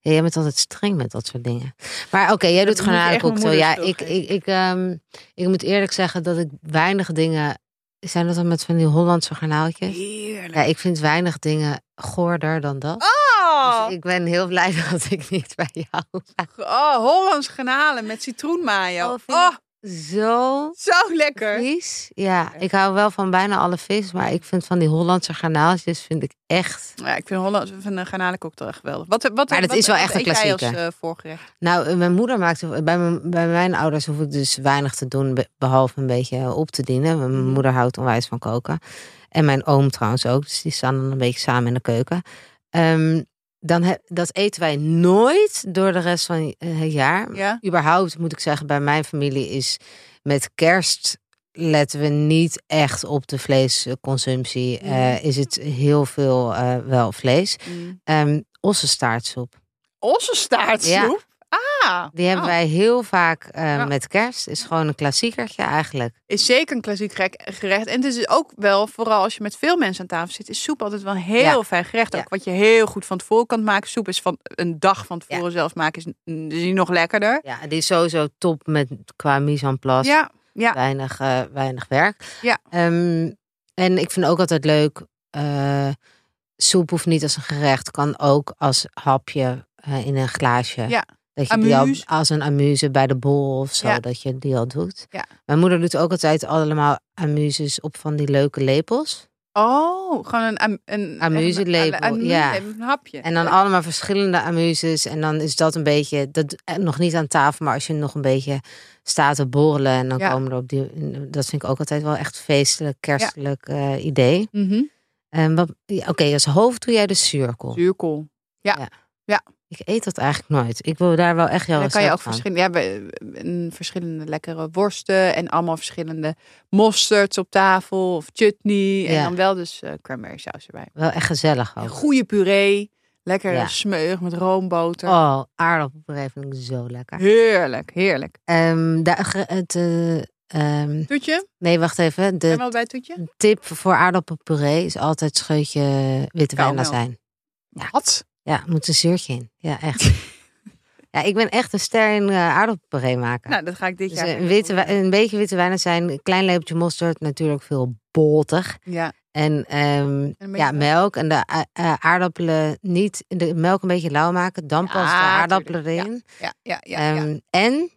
Speaker 2: jij bent altijd streng met dat soort dingen. Maar oké, jij
Speaker 1: Dat
Speaker 2: doet
Speaker 1: moet je echt mijn
Speaker 2: granalencocktail.
Speaker 1: moeder
Speaker 2: Ja,
Speaker 1: schuld
Speaker 2: ik,
Speaker 1: geven.
Speaker 2: ik, ik, ehm, ik moet eerlijk zeggen dat ik weinig dingen... Zijn dat dan met van die Hollandse garnaaltjes?
Speaker 1: Heerlijk.
Speaker 2: Ja, ik vind weinig dingen goorder dan dat.
Speaker 1: Oh,
Speaker 2: Dus ik ben heel blij [LAUGHS] dat ik niet bij jou...
Speaker 1: oh, Hollands granalen met citroenmayo.
Speaker 2: Oh,
Speaker 1: Oh,
Speaker 2: vind Zo
Speaker 1: zo lekker.
Speaker 2: vies. Ja, ik hou wel van bijna alle vis. Maar ik vind van die Hollandse garnaaltjes vind ik echt...
Speaker 1: Ja, ik vind Hollands van een granalencocktail echt geweldig. Wat, wat,
Speaker 2: Maar dat
Speaker 1: wat-
Speaker 2: is wel
Speaker 1: wat
Speaker 2: echt een
Speaker 1: eet jij als
Speaker 2: klassieker.
Speaker 1: eh, voorgerecht.
Speaker 2: Nou, eh, mijn moeder maakte bij mijn, bij mijn ouders hoef ik dus weinig te doen, be- behalve een beetje eh, op te dienen. Mijn
Speaker 1: Mhm.
Speaker 2: moeder houdt onwijs van koken. En mijn oom trouwens ook. Dus die staan dan een beetje samen in de keuken. Ehm, dan he- dat eten wij nooit door de rest van eh, het jaar.
Speaker 1: Ja?
Speaker 2: Überhaupt moet ik zeggen, bij mijn familie is met kerst letten we niet echt op de vleesconsumptie.
Speaker 1: Mhm.
Speaker 2: Eh, is het heel veel eh, wel vlees.
Speaker 1: Mm.
Speaker 2: Ehm ossenstaartsoep.
Speaker 1: Ossenstaartsoep? Ah,
Speaker 2: Die hebben
Speaker 1: Oh.
Speaker 2: wij heel vaak eh,
Speaker 1: Ja.
Speaker 2: met kerst. Is gewoon een klassiekertje eigenlijk.
Speaker 1: is zeker een klassiek gek- gerecht. En het is ook wel, vooral als je met veel mensen aan tafel zit, is soep altijd wel een heel fijn gerecht. Ook
Speaker 2: Ja.
Speaker 1: wat je heel goed van tevoren kan maken. Soep is van een dag van tevoren zelfs maken, is, is die nog lekkerder.
Speaker 2: Ja, die is sowieso top met qua mise en place.
Speaker 1: Ja, ja.
Speaker 2: Weinig, eh, weinig werk.
Speaker 1: Ja.
Speaker 2: Ehm, en ik vind ook altijd leuk. eh, soep hoeft niet als een gerecht. Kan ook als hapje eh, in een glaasje.
Speaker 1: Ja.
Speaker 2: Dat je die al
Speaker 1: Amuse.
Speaker 2: als een amuse bij de bol of zo.
Speaker 1: Ja.
Speaker 2: Dat je die al doet.
Speaker 1: Ja.
Speaker 2: Mijn moeder doet ook altijd allemaal amuses op van die leuke lepels.
Speaker 1: Oh, gewoon een, am- een
Speaker 2: Amuselepel,
Speaker 1: een- een-
Speaker 2: ja.
Speaker 1: Een hapje.
Speaker 2: En dan allemaal verschillende amuses. En dan is dat een beetje, dat, eh, nog niet aan tafel, maar als je nog een beetje staat te borrelen. En dan
Speaker 1: Ja.
Speaker 2: komen er op die, dat vind ik ook altijd wel echt feestelijk, kerstelijk eh, idee.
Speaker 1: Mhm.
Speaker 2: En wat, ja, oké, als hoofd doe jij de cirkel.
Speaker 1: Zuurkool.
Speaker 2: Ik eet dat eigenlijk nooit. Ik wil daar wel echt
Speaker 1: En
Speaker 2: jouw
Speaker 1: dan kan je ook
Speaker 2: recept van.
Speaker 1: verschillende, ja, we- een- verschillende lekkere worsten en allemaal verschillende mostards op tafel of chutney. En
Speaker 2: Ja.
Speaker 1: dan wel dus eh, cranberry saus erbij.
Speaker 2: Wel echt gezellig
Speaker 1: Een
Speaker 2: ook.
Speaker 1: goede puree, lekker
Speaker 2: Ja.
Speaker 1: smeug met roomboter.
Speaker 2: Oh, aardappelpuree vind ik zo lekker.
Speaker 1: Heerlijk, heerlijk.
Speaker 2: Ehm, daar, ge- het, eh, ehm,
Speaker 1: Toetje,
Speaker 2: nee, wacht even.
Speaker 1: zijn we
Speaker 2: De
Speaker 1: al bij het toetje?
Speaker 2: tip voor aardappelpuree is altijd scheutje witte
Speaker 1: Kauwmelk.
Speaker 2: wijn zijn. Ja.
Speaker 1: Wat? [LAUGHS]
Speaker 2: Ja, er moet een zuurtje in. Ja, echt. Ja, ik ben echt een ster in eh aardappelpuree maken.
Speaker 1: Nou, dat ga ik dit
Speaker 2: dus
Speaker 1: jaar.
Speaker 2: eh,
Speaker 1: gaan
Speaker 2: een, witte,
Speaker 1: doen.
Speaker 2: wij- een beetje witte wijn zijn, een klein lepeltje mosterd, natuurlijk veel boter.
Speaker 1: Ja,
Speaker 2: En ehm,
Speaker 1: En een beetje
Speaker 2: ja,
Speaker 1: melk.
Speaker 2: melk en de a- eh, aardappelen niet, de melk een beetje lauw maken, dan
Speaker 1: Ja,
Speaker 2: pas de aardappelen
Speaker 1: tuurlijk.
Speaker 2: erin.
Speaker 1: ja, ja, ja. ja.
Speaker 2: Ehm, En,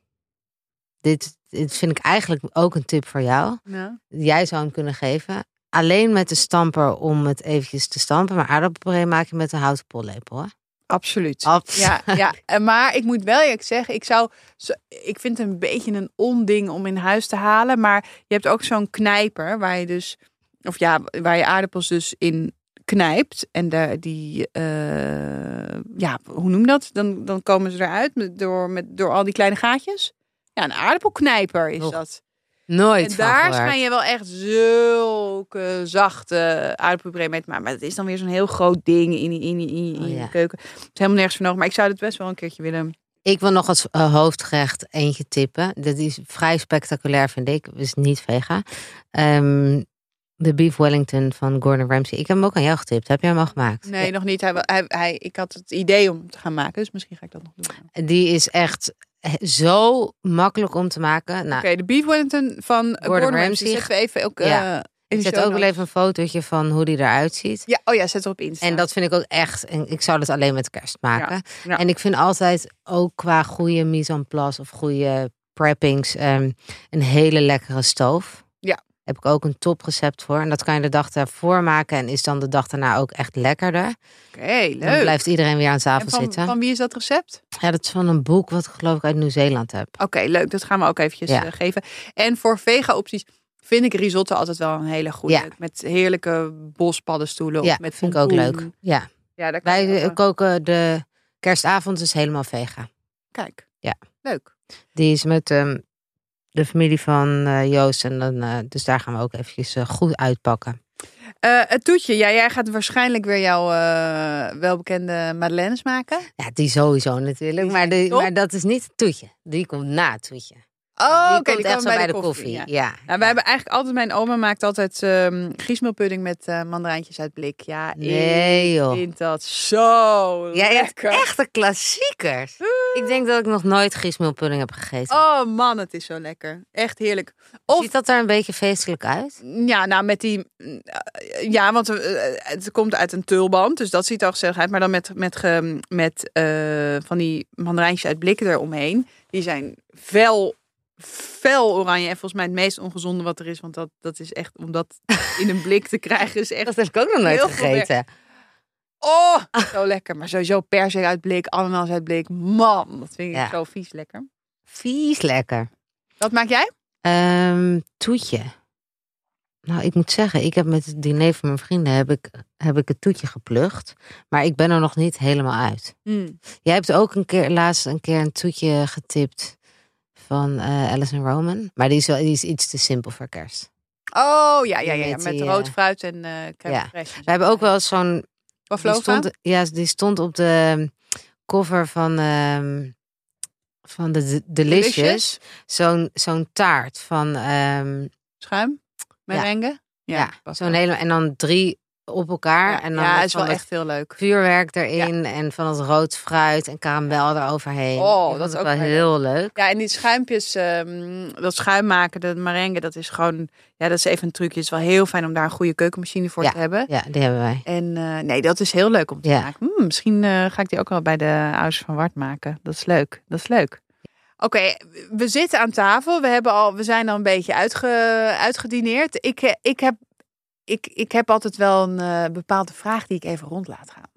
Speaker 2: dit, dit vind ik eigenlijk ook een tip voor jou,
Speaker 1: Nou,
Speaker 2: jij zou hem kunnen geven. Alleen met de stamper om het eventjes te stampen, maar aardappelpuree maak je met een houten pollepel. Hè?
Speaker 1: absoluut.
Speaker 2: Abs-
Speaker 1: Ja, ja, En maar ik moet wel eerlijk zeggen, ik zou, zo- ik vind het een beetje een onding om in huis te halen, maar je hebt ook zo'n knijper waar je dus, of ja, waar je aardappels dus in knijpt en daar die, eh, ja, hoe noem je dat? Dan, dan komen ze eruit met, door, met, door al die kleine gaatjes. Ja, een aardappelknijper is
Speaker 2: Nog
Speaker 1: dat.
Speaker 2: Nooit
Speaker 1: En
Speaker 2: van
Speaker 1: daar
Speaker 2: gehoord.
Speaker 1: schijn je wel echt zulke zachte aardappelpuree mee te maken. Maar het is dan weer zo'n heel groot ding in, die- in, die- in, die- in
Speaker 2: Oh,
Speaker 1: de
Speaker 2: ja.
Speaker 1: keuken. Het is helemaal nergens voor nodig. Maar ik zou het best wel een keertje willen.
Speaker 2: Ik wil nog als eh, hoofdgerecht eentje tippen. Dat is vrij spectaculair, vind ik. Is niet vega. Ehm, de Beef Wellington van Gordon Ramsay. Ik heb hem ook aan jou getipt. Heb jij hem al gemaakt?
Speaker 1: Nee, nog niet. Hij, wil- hij, hij, ik had het idee om te gaan maken, dus misschien ga ik dat nog doen. Oké,
Speaker 2: Ja. Die is echt he- zo makkelijk om te maken. Nou,
Speaker 1: de Beef Wellington van Gordon,
Speaker 2: Gordon
Speaker 1: Ramsay.
Speaker 2: Ramsay.
Speaker 1: Zetten we even ook,
Speaker 2: Ja.
Speaker 1: eh, in
Speaker 2: ik
Speaker 1: de
Speaker 2: zet
Speaker 1: show
Speaker 2: ook wel
Speaker 1: notes.
Speaker 2: even een fotootje van hoe die eruit ziet.
Speaker 1: Ja, oh ja, zet het op Insta.
Speaker 2: En dat vind ik ook echt. En ik zou dat alleen met kerst maken.
Speaker 1: ja.
Speaker 2: En ik vind altijd ook qua goede mise en place of goede preppings ehm, een hele lekkere stoof.
Speaker 1: Ja.
Speaker 2: Heb ik ook een toprecept voor. En dat kan je de dag daarvoor maken en is dan de dag daarna ook echt lekkerder.
Speaker 1: Oké,
Speaker 2: Dan
Speaker 1: leuk.
Speaker 2: blijft iedereen weer aan
Speaker 1: en
Speaker 2: tafel
Speaker 1: van,
Speaker 2: zitten.
Speaker 1: van wie is dat recept?
Speaker 2: Ja, dat is van een boek wat ik geloof ik uit Nieuw-Zeeland heb.
Speaker 1: Oké, leuk. Dat gaan we ook eventjes
Speaker 2: Ja.
Speaker 1: eh, geven. En voor vega-opties vind ik risotto altijd wel een hele goede.
Speaker 2: Ja.
Speaker 1: Met heerlijke bospaddenstoelen. of
Speaker 2: ja,
Speaker 1: met
Speaker 2: vind ik ook
Speaker 1: pompoen.
Speaker 2: leuk. Ja.
Speaker 1: Ja, daar kan
Speaker 2: Wij
Speaker 1: je ook
Speaker 2: eh,
Speaker 1: wel-
Speaker 2: koken de kerstavond is helemaal vega.
Speaker 1: eh, Kijk.
Speaker 2: Ja.
Speaker 1: Leuk.
Speaker 2: Die is met ehm, de familie van eh, Joost. En dan, eh, dus daar gaan we ook eventjes eh, goed uitpakken.
Speaker 1: Eh, het toetje. Ja, jij gaat waarschijnlijk weer jouw eh, welbekende madeleines maken.
Speaker 2: Ja, die sowieso natuurlijk.
Speaker 1: Die
Speaker 2: Maar, de,
Speaker 1: zijn top.
Speaker 2: maar dat is niet het toetje. Die komt na het toetje.
Speaker 1: Oh,
Speaker 2: die
Speaker 1: oké,
Speaker 2: komt echt zo bij de koffie.
Speaker 1: ja.
Speaker 2: Ja.
Speaker 1: Nou, we hebben eigenlijk altijd, mijn oma maakt altijd ehm griesmeelpudding met eh mandarijntjes uit blik. Ja,
Speaker 2: Nee
Speaker 1: ik
Speaker 2: joh.
Speaker 1: vind dat zo
Speaker 2: Jij hebt
Speaker 1: lekker.
Speaker 2: echte klassiekers. Ik denk dat ik nog nooit griesmeelpudding heb gegeten.
Speaker 1: Oh man, het is zo lekker. Echt heerlijk. of-
Speaker 2: Ziet dat er een beetje feestelijk uit?
Speaker 1: Ja, nou met die... eh, Ja, want eh, eh, het komt uit een tulband, dus dat ziet er al gezellig uit. Maar dan met, met, ge- met eh, van die mandarijntjes uit blikken eromheen. Die zijn fel, fel oranje. En volgens mij het meest ongezonde wat er is. Want dat, dat is echt, om dat in een blik te krijgen, is
Speaker 2: [LAUGHS]
Speaker 1: echt
Speaker 2: Dat heb ik ook nog nooit
Speaker 1: Heel veel
Speaker 2: gegeten.
Speaker 1: Oh, [LAUGHS] zo lekker. Maar sowieso persik uit blik, ananas uit blik. Man, dat vind ik
Speaker 2: Ja.
Speaker 1: zo vies lekker.
Speaker 2: Vies lekker.
Speaker 1: Wat maak jij?
Speaker 2: Ehm, toetje. Nou, ik moet zeggen, ik heb met het diner van mijn vrienden heb ik, heb ik het toetje geplukt. Maar ik ben er nog niet helemaal uit. Jij hebt ook een keer, laatst een keer een toetje getipt van eh, Alice en Roman. Maar die is, wel, die is iets te simpel voor kerst.
Speaker 1: Oh, ja, ja, ja. ja.
Speaker 2: Met
Speaker 1: Met
Speaker 2: die,
Speaker 1: rood
Speaker 2: eh,
Speaker 1: fruit en eh crème
Speaker 2: ja.
Speaker 1: fraîche.
Speaker 2: We hebben ook wel eens zo'n... Die
Speaker 1: Pavlova?
Speaker 2: stond, ja, die stond op de ehm, cover van, ehm, van de D- Delicious.
Speaker 1: Delicious?
Speaker 2: Zo'n zo'n taart van... ehm,
Speaker 1: Schuim? Merengue?
Speaker 2: ja,
Speaker 1: past
Speaker 2: zo'n
Speaker 1: wel.
Speaker 2: hele... En dan drie op elkaar.
Speaker 1: Ja,
Speaker 2: en dan
Speaker 1: ja
Speaker 2: met
Speaker 1: is
Speaker 2: van
Speaker 1: wel
Speaker 2: dat
Speaker 1: echt heel leuk.
Speaker 2: vuurwerk erin. En van dat rood fruit en karamel eroverheen.
Speaker 1: Oh,
Speaker 2: Ik vond
Speaker 1: dat is
Speaker 2: het
Speaker 1: ook
Speaker 2: wel
Speaker 1: wel
Speaker 2: heel leuk.
Speaker 1: Ja, en die schuimpjes, ehm, dat schuim maken, dat merengue, dat is gewoon... Ja, dat is even een trucje. Het is wel heel fijn om daar een goede keukenmachine voor te hebben.
Speaker 2: Ja, die hebben wij.
Speaker 1: En eh, nee, dat is heel leuk om te
Speaker 2: Ja.
Speaker 1: maken. Hmm, misschien eh, ga ik die ook wel bij de ouders van Wart maken. Dat is leuk. Dat is leuk. Oké, we zitten aan tafel. We, hebben al, we zijn al een beetje uitge, uitgedineerd. Ik, eh, ik, heb, ik, ik heb altijd wel een eh, bepaalde vraag die ik even rond laat gaan.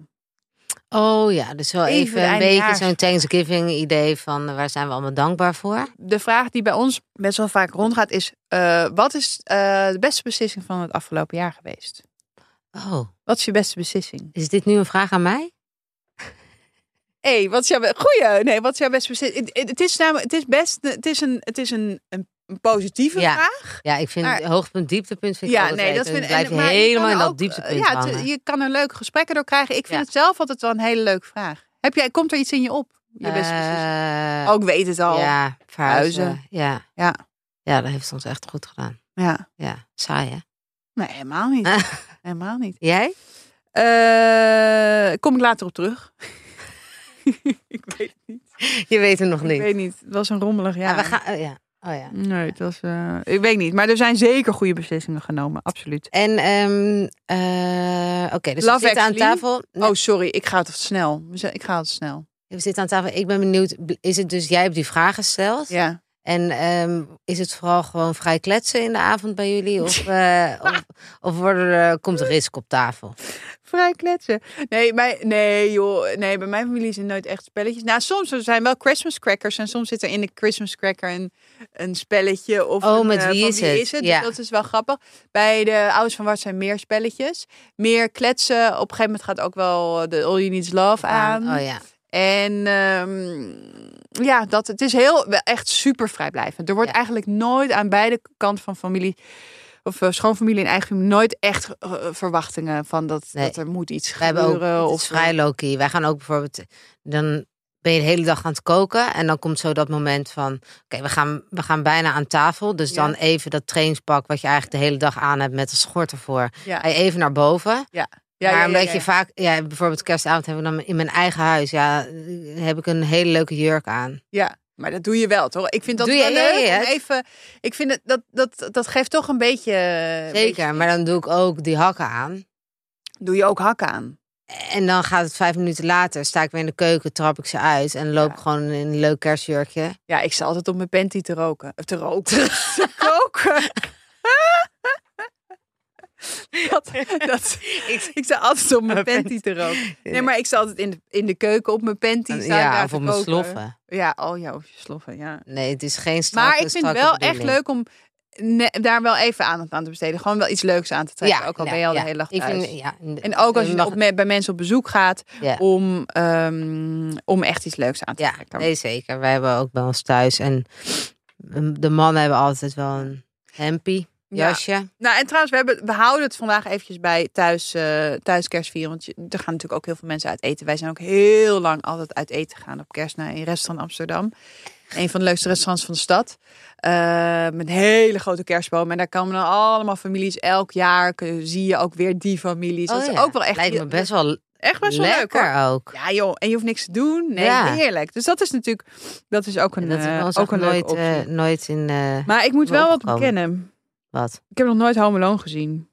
Speaker 2: Oh ja, dus wel
Speaker 1: Even
Speaker 2: even,
Speaker 1: de
Speaker 2: een beetje
Speaker 1: eindejaarsvraag.
Speaker 2: zo'n Thanksgiving idee van eh, waar zijn we allemaal dankbaar voor?
Speaker 1: De vraag die bij ons best wel vaak rondgaat is... eh, wat is eh, de beste beslissing van het afgelopen jaar geweest?
Speaker 2: Oh,
Speaker 1: Wat is je beste beslissing?
Speaker 2: is dit nu een vraag aan mij?
Speaker 1: Hé, hey, wat is jouw be- goeie? Nee, wat is jouw beste beslissing? Het- Het is namelijk, het is best, het is een, het is een, een een positieve
Speaker 2: Ja,
Speaker 1: vraag.
Speaker 2: Ja, ik vind
Speaker 1: Maar-
Speaker 2: hoogtepunt, dieptepunt vind ik
Speaker 1: ja,
Speaker 2: altijd leuk. En
Speaker 1: vind-
Speaker 2: dan blijf
Speaker 1: en-
Speaker 2: je
Speaker 1: maar je
Speaker 2: helemaal
Speaker 1: kan
Speaker 2: in dat
Speaker 1: ook,
Speaker 2: dieptepunt
Speaker 1: eh, Ja, het-
Speaker 2: hangen.
Speaker 1: je kan er leuke gesprekken door krijgen. Ik vind
Speaker 2: Ja.
Speaker 1: het zelf altijd wel een hele leuke vraag. Heb jij, komt er iets in je op? Je beste beslissing?
Speaker 2: Eh,
Speaker 1: Oh, ik weet het al. Ja.
Speaker 2: Ja, verhuizen.
Speaker 1: Huizen.
Speaker 2: Ja.
Speaker 1: Ja.
Speaker 2: ja, dat heeft ze ons echt goed gedaan. Ja, saai hè?
Speaker 1: Nee, helemaal [LAUGHS] niet. helemaal niet.
Speaker 2: Jij?
Speaker 1: Eh, kom [LAUGHS] ik later op terug? ik weet het niet.
Speaker 2: Je weet het nog
Speaker 1: Ik
Speaker 2: niet.
Speaker 1: weet niet. Het was een rommelig jaar.
Speaker 2: Ja, we gaan, oh ja. Oh ja.
Speaker 1: Nee, het was. eh, ik weet niet. Maar er zijn zeker goede beslissingen genomen. Absoluut.
Speaker 2: En ehm, eh, oké, dus
Speaker 1: Love
Speaker 2: we zitten aan
Speaker 1: Actually.
Speaker 2: tafel. Nee,
Speaker 1: Oh, sorry. Ik ga het snel. We zijn- Ik ga het snel.
Speaker 2: We zitten aan tafel. Ik ben benieuwd, bl- is het dus jij hebt die vraag gesteld?
Speaker 1: Ja.
Speaker 2: En ehm, is het vooral gewoon vrij kletsen in de avond bij jullie?
Speaker 1: [LAUGHS]
Speaker 2: Of, eh, of, of worden er- eh, komt er risk op tafel?
Speaker 1: Vrij kletsen. Nee, bij, nee, joh. Nee, bij mijn familie zijn nooit echt spelletjes. Nou, soms er zijn wel Christmas crackers. En soms zit er in de Christmas cracker een, een spelletje. Of
Speaker 2: Oh,
Speaker 1: een,
Speaker 2: met
Speaker 1: eh,
Speaker 2: wie
Speaker 1: van
Speaker 2: is het?
Speaker 1: Is het?
Speaker 2: Ja.
Speaker 1: Dus dat is wel grappig. Bij de ouders van Wart zijn meer spelletjes. Meer kletsen. Op een gegeven moment gaat ook wel eh, de All You Need Is Love aan.
Speaker 2: Oh ja.
Speaker 1: En ehm, ja, dat, het is heel, wel echt super vrijblijvend. Er wordt
Speaker 2: Ja.
Speaker 1: eigenlijk nooit aan beide kanten van familie, of eh, schoonfamilie en eigen familie, nooit echt eh, verwachtingen van dat,
Speaker 2: Nee.
Speaker 1: dat er moet iets
Speaker 2: We hebben ook,
Speaker 1: gebeuren.
Speaker 2: het
Speaker 1: of eh,
Speaker 2: is vrij low-key. Wij gaan ook bijvoorbeeld, dan ben je de hele dag aan het koken. En dan komt zo dat moment van, oké, we, gaan, we gaan bijna aan tafel. Dus
Speaker 1: Ja.
Speaker 2: dan even dat trainingspak wat je eigenlijk de hele dag aan hebt met een schort ervoor.
Speaker 1: Ja.
Speaker 2: Ga je even naar boven.
Speaker 1: Ja,
Speaker 2: maar
Speaker 1: ja,
Speaker 2: een
Speaker 1: ja,
Speaker 2: beetje
Speaker 1: ja.
Speaker 2: vaak, ja, bijvoorbeeld kerstavond heb ik dan in mijn eigen huis, ja, heb ik een hele leuke jurk aan.
Speaker 1: Ja, maar dat doe je wel, toch? Ik vind dat
Speaker 2: Doe
Speaker 1: wel
Speaker 2: je- ja,
Speaker 1: leuk.
Speaker 2: ja, ja.
Speaker 1: om even, ik vind het, dat, dat, dat geeft toch een beetje...
Speaker 2: Zeker, maar dan doe ik ook die hakken aan.
Speaker 1: beetje- doe je ook hak aan.
Speaker 2: En dan gaat het vijf minuten later, sta ik weer in de keuken, trap ik ze uit en loop
Speaker 1: Ja.
Speaker 2: gewoon in een leuk kerstjurkje.
Speaker 1: Ja, ik sta altijd op mijn panty te roken. Of te
Speaker 2: [LAUGHS]
Speaker 1: roken. te koken. dat, dat, ik, sta altijd op mijn
Speaker 2: Mijn
Speaker 1: panty te roken. Nee, maar ik sta altijd in de, in de keuken op mijn panty. sta ik
Speaker 2: Ah, ja,
Speaker 1: daar
Speaker 2: of
Speaker 1: te
Speaker 2: op mijn
Speaker 1: koken.
Speaker 2: sloffen.
Speaker 1: Ja, oh ja, of je sloffen, ja.
Speaker 2: Nee, het is geen strakke,
Speaker 1: Maar ik vind het
Speaker 2: strakke
Speaker 1: wel echt
Speaker 2: bedoeling.
Speaker 1: leuk om ne- daar wel even aandacht aan te besteden. Gewoon wel iets leuks aan te trekken. ook al
Speaker 2: nou,
Speaker 1: ben je al
Speaker 2: ja.
Speaker 1: de hele dag
Speaker 2: Ik
Speaker 1: thuis.
Speaker 2: vind, ja,
Speaker 1: En ook als je
Speaker 2: mag-
Speaker 1: op me- bij mensen op bezoek gaat
Speaker 2: Ja.
Speaker 1: om, ehm, om echt iets leuks aan te
Speaker 2: Ja,
Speaker 1: trekken.
Speaker 2: nee, zeker. Wij hebben ook bij ons thuis. En mm, de mannen hebben altijd wel een hempie,
Speaker 1: Ja.
Speaker 2: jasje.
Speaker 1: Nou, en trouwens, we, hebben, we houden het vandaag eventjes bij thuis, eh thuis kerstvieren. Want je- er gaan natuurlijk ook heel veel mensen uit eten. Wij zijn ook heel lang altijd uit eten gegaan op kerst naar een restaurant Amsterdam. Een van de leukste restaurants van de stad. Eh, met een hele grote kerstboom. En daar komen dan allemaal families. Elk jaar kun- zie je ook weer die families. dat
Speaker 2: Oh
Speaker 1: is
Speaker 2: ja,
Speaker 1: ook wel echt,
Speaker 2: Lijkt me best wel
Speaker 1: echt best wel leuk hoor.
Speaker 2: lekker ook.
Speaker 1: Ja joh, en je hoeft niks te doen. Nee,
Speaker 2: Ja.
Speaker 1: heerlijk. Dus dat is natuurlijk, dat is ook een,
Speaker 2: dat is bij
Speaker 1: eh,
Speaker 2: ons
Speaker 1: ook
Speaker 2: ook
Speaker 1: een leuke
Speaker 2: nooit,
Speaker 1: optie.
Speaker 2: eh, nooit in eh,
Speaker 1: maar ik moet
Speaker 2: wel
Speaker 1: wel wat
Speaker 2: opgekomen.
Speaker 1: bekennen.
Speaker 2: wat.
Speaker 1: Ik heb nog nooit Home Alone gezien.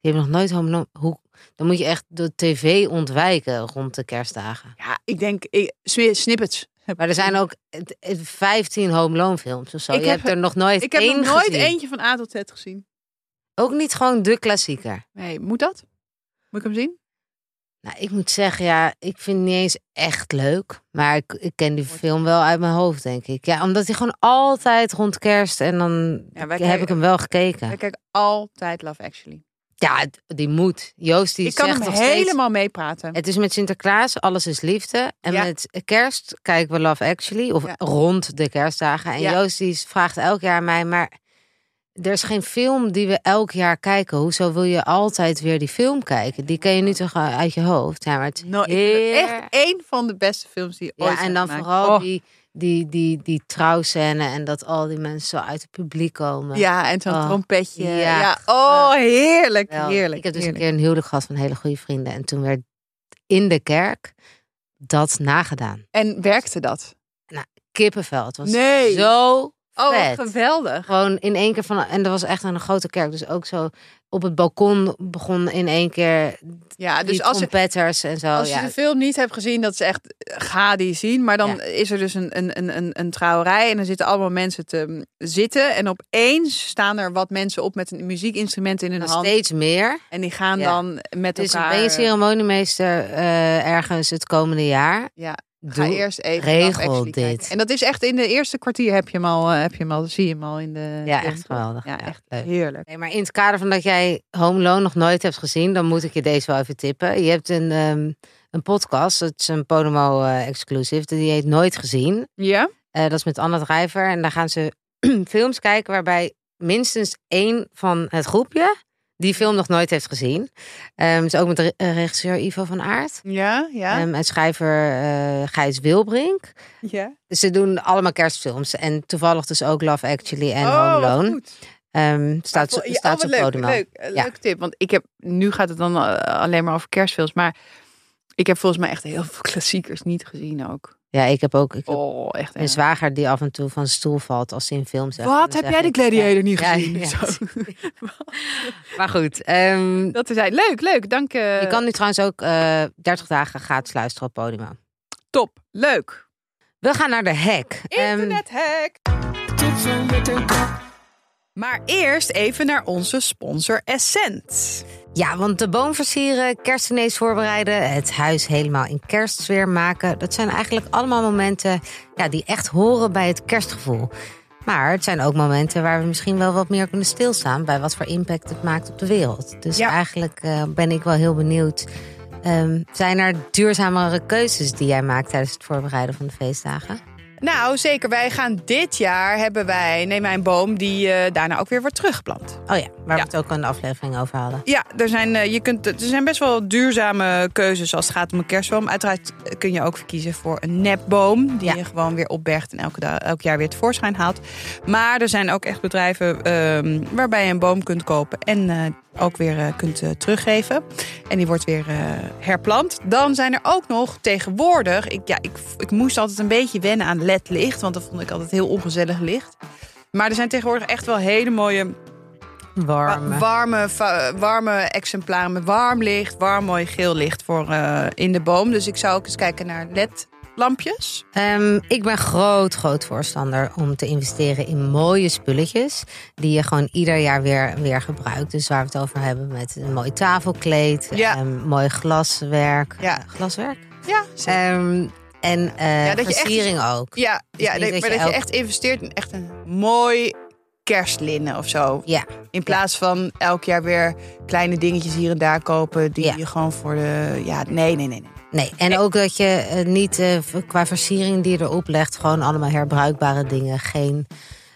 Speaker 2: Je hebt nog nooit Home Alone- Hoe, dan moet je echt de tv ontwijken rond de kerstdagen.
Speaker 1: Ja, ik denk ik, swi- snippets.
Speaker 2: [LAUGHS] Maar er zijn ook eh, eh, 15 Home Alone films of zo.
Speaker 1: Ik
Speaker 2: je
Speaker 1: heb-
Speaker 2: hebt er nog nooit
Speaker 1: Ik heb nog
Speaker 2: één
Speaker 1: nooit
Speaker 2: gezien.
Speaker 1: eentje van A tot Z gezien.
Speaker 2: Ook niet gewoon de klassieker.
Speaker 1: Nee, moet dat? Moet ik hem zien?
Speaker 2: Nou, ik moet zeggen, ja, ik vind het niet eens echt leuk. Maar ik, ik ken die film wel uit mijn hoofd, denk ik. Ja, omdat hij gewoon altijd rond kerst en dan
Speaker 1: Ja, wij
Speaker 2: heb
Speaker 1: kijken-
Speaker 2: ik hem wel
Speaker 1: Ik
Speaker 2: gekeken.
Speaker 1: kijk altijd Love Actually.
Speaker 2: Ja, het- die moet. Joost die
Speaker 1: ik kan
Speaker 2: zegt
Speaker 1: hem
Speaker 2: nog steeds-
Speaker 1: helemaal meepraten.
Speaker 2: Het is met Sinterklaas, alles is liefde. En
Speaker 1: Ja.
Speaker 2: met kerst kijken we Love Actually, of
Speaker 1: Ja.
Speaker 2: rond de kerstdagen. En
Speaker 1: Ja.
Speaker 2: Joost die vraagt elk jaar aan mij, maar er is geen film die we elk jaar kijken. Hoezo wil je altijd weer die film kijken? Die ken je nu toch eh, uit je hoofd? Ja, maar het is
Speaker 1: Nou, ik vind het
Speaker 2: heer-
Speaker 1: echt één van de beste films die ooit
Speaker 2: ja, en
Speaker 1: zijn
Speaker 2: dan
Speaker 1: gemaakt.
Speaker 2: vooral
Speaker 1: Oh,
Speaker 2: die, die, die, die trouwscène en dat al die mensen zo uit het publiek komen.
Speaker 1: Ja, en zo'n
Speaker 2: Oh,
Speaker 1: trompetje. Ja.
Speaker 2: ja.
Speaker 1: Oh, heerlijk,
Speaker 2: Wel,
Speaker 1: heerlijk.
Speaker 2: Ik heb dus
Speaker 1: heerlijk.
Speaker 2: een keer een huwelijk gehad van hele goede vrienden. En toen werd in de kerk dat nagedaan.
Speaker 1: En werkte dat?
Speaker 2: Kippenvel. Het was
Speaker 1: Nee.
Speaker 2: zo
Speaker 1: Oh, wat
Speaker 2: Vet.
Speaker 1: geweldig.
Speaker 2: Gewoon in één keer van. En dat was echt een grote kerk. Dus ook zo op het balkon begon in één keer
Speaker 1: Ja,
Speaker 2: die
Speaker 1: dus als je,
Speaker 2: trompetters en zo.
Speaker 1: als je
Speaker 2: Oh ja.
Speaker 1: de film niet hebt gezien, dat is echt, eh, ga die zien. Maar dan
Speaker 2: Ja.
Speaker 1: is er dus een, een, een, een, een trouwerij en dan zitten allemaal mensen te mm, zitten. En opeens staan er wat mensen op met een muziekinstrument in hun
Speaker 2: Nog
Speaker 1: hand.
Speaker 2: steeds meer.
Speaker 1: En die gaan
Speaker 2: Ja.
Speaker 1: dan met
Speaker 2: Dus
Speaker 1: elkaar... eh,
Speaker 2: ben je ceremoniemeester eh, ergens het komende jaar?
Speaker 1: Ja, ga
Speaker 2: Doe.
Speaker 1: eerst even
Speaker 2: regel
Speaker 1: Love Actually
Speaker 2: dit.
Speaker 1: kijken. En dat is echt in de eerste kwartier heb je hem al, eh, heb je hem al zie je hem al in eh, de...
Speaker 2: Ja,
Speaker 1: film,
Speaker 2: echt
Speaker 1: toch?
Speaker 2: geweldig.
Speaker 1: Ja,
Speaker 2: Ja,
Speaker 1: echt
Speaker 2: leuk.
Speaker 1: heerlijk.
Speaker 2: Nee, maar in het kader van dat jij Home Loan nog nooit hebt gezien, dan moet ik je deze wel even tippen. Je hebt een, ehm, een podcast, dat is een Podemo eh, exclusive, die heet Nooit Gezien.
Speaker 1: Ja?
Speaker 2: Eh, dat is met Anna Drijver. En daar gaan ze [CLEARS THROAT] films kijken waarbij minstens één van het groepje die film nog nooit heeft gezien. Ehm het is ook met re- eh, regisseur Ivo van Aert.
Speaker 1: Ja, ja,
Speaker 2: Ehm, en schrijver eh, Gijs Wilbrink. Dus
Speaker 1: ja.
Speaker 2: Ze doen allemaal kerstfilms. En toevallig dus ook Love Actually en
Speaker 1: oh,
Speaker 2: Home
Speaker 1: wat
Speaker 2: Alone.
Speaker 1: goed.
Speaker 2: Ehm, staat
Speaker 1: Maar voor- ja,
Speaker 2: staat
Speaker 1: oh, wat
Speaker 2: op
Speaker 1: leuk,
Speaker 2: Podimo.
Speaker 1: leuk, eh,
Speaker 2: Ja.
Speaker 1: leuk tip. Want ik heb, nu gaat het dan eh, alleen maar over kerstfilms. Maar ik heb volgens mij echt heel veel klassiekers niet gezien ook.
Speaker 2: Ja, ik heb ook ik heb
Speaker 1: Oh, echt.
Speaker 2: een
Speaker 1: erg.
Speaker 2: zwager die af en toe van stoel valt als hij in films zegt.
Speaker 1: Wat heb jij de Gladiator niet
Speaker 2: Ja,
Speaker 1: gezien?
Speaker 2: ja,
Speaker 1: Zo.
Speaker 2: [LAUGHS]
Speaker 1: [LAUGHS]
Speaker 2: Maar goed, ehm,
Speaker 1: Dat is hij. Leuk, leuk. Dank. eh,
Speaker 2: je kan nu trouwens ook eh 30 dagen gratis luisteren op Podimo.
Speaker 1: Top. Leuk.
Speaker 2: We gaan naar de hack. Ehm,
Speaker 1: Internethack. Maar eerst even naar onze sponsor Essent.
Speaker 2: ja, want de boom versieren, kerstdiners voorbereiden, het huis helemaal in kerstsfeer maken. Dat zijn eigenlijk allemaal momenten ja, die echt horen bij het kerstgevoel. Maar het zijn ook momenten waar we misschien wel wat meer kunnen stilstaan bij wat voor impact het maakt op de wereld. Dus
Speaker 1: Ja.
Speaker 2: eigenlijk eh, ben ik wel heel benieuwd. ehm, zijn er duurzamere keuzes die jij maakt tijdens het voorbereiden van de feestdagen?
Speaker 1: Nou, zeker. Wij gaan dit jaar hebben wij Neem Mijn Boom, die eh, daarna ook weer wordt teruggeplant.
Speaker 2: Oh ja, waar
Speaker 1: Ja.
Speaker 2: we het ook een aflevering over hadden.
Speaker 1: Ja, er zijn, eh, je kunt, er zijn best wel duurzame keuzes als het gaat om een kerstboom. Uiteraard eh, kun je ook verkiezen voor een nepboom. Die
Speaker 2: Ja.
Speaker 1: je gewoon weer opbergt en elke da- elk jaar weer tevoorschijn haalt. Maar er zijn ook echt bedrijven ehm, waarbij je een boom kunt kopen en eh, ook weer eh, kunt eh, teruggeven. En die wordt weer eh, herplant. Dan zijn er ook nog tegenwoordig. Ik, ja, ik, ik moest altijd een beetje wennen aan ledlicht, want dat vond ik altijd heel ongezellig licht. Maar er zijn tegenwoordig echt wel hele mooie
Speaker 2: Warm.
Speaker 1: Wa- Warme, va- warme exemplaren met warm licht, warm mooi geel licht voor eh, in de boom. Dus ik zou ook eens kijken naar ledlampjes.
Speaker 2: Ehm, ik ben groot, groot voorstander om te investeren in mooie spulletjes. Die je gewoon ieder jaar weer, weer gebruikt. Dus waar we het over hebben met een mooi tafelkleed.
Speaker 1: Ja.
Speaker 2: ehm, mooi glaswerk.
Speaker 1: Ja.
Speaker 2: Eh, Glaswerk?
Speaker 1: Ja, zeker.
Speaker 2: Ehm, en eh
Speaker 1: Ja, dat je echt-
Speaker 2: versiering ook.
Speaker 1: ja, ja dat-
Speaker 2: Dus niet dat
Speaker 1: maar
Speaker 2: je
Speaker 1: dat je
Speaker 2: elk-
Speaker 1: echt investeert in echt een mooi kerstlinnen of zo.
Speaker 2: Ja,
Speaker 1: In plaats van elk jaar weer kleine dingetjes hier en daar kopen die
Speaker 2: Ja.
Speaker 1: je gewoon voor de... Ja, nee, nee, nee. nee.
Speaker 2: nee. En ook dat je eh, niet eh, v- qua versiering die je erop legt... gewoon allemaal herbruikbare dingen. Geen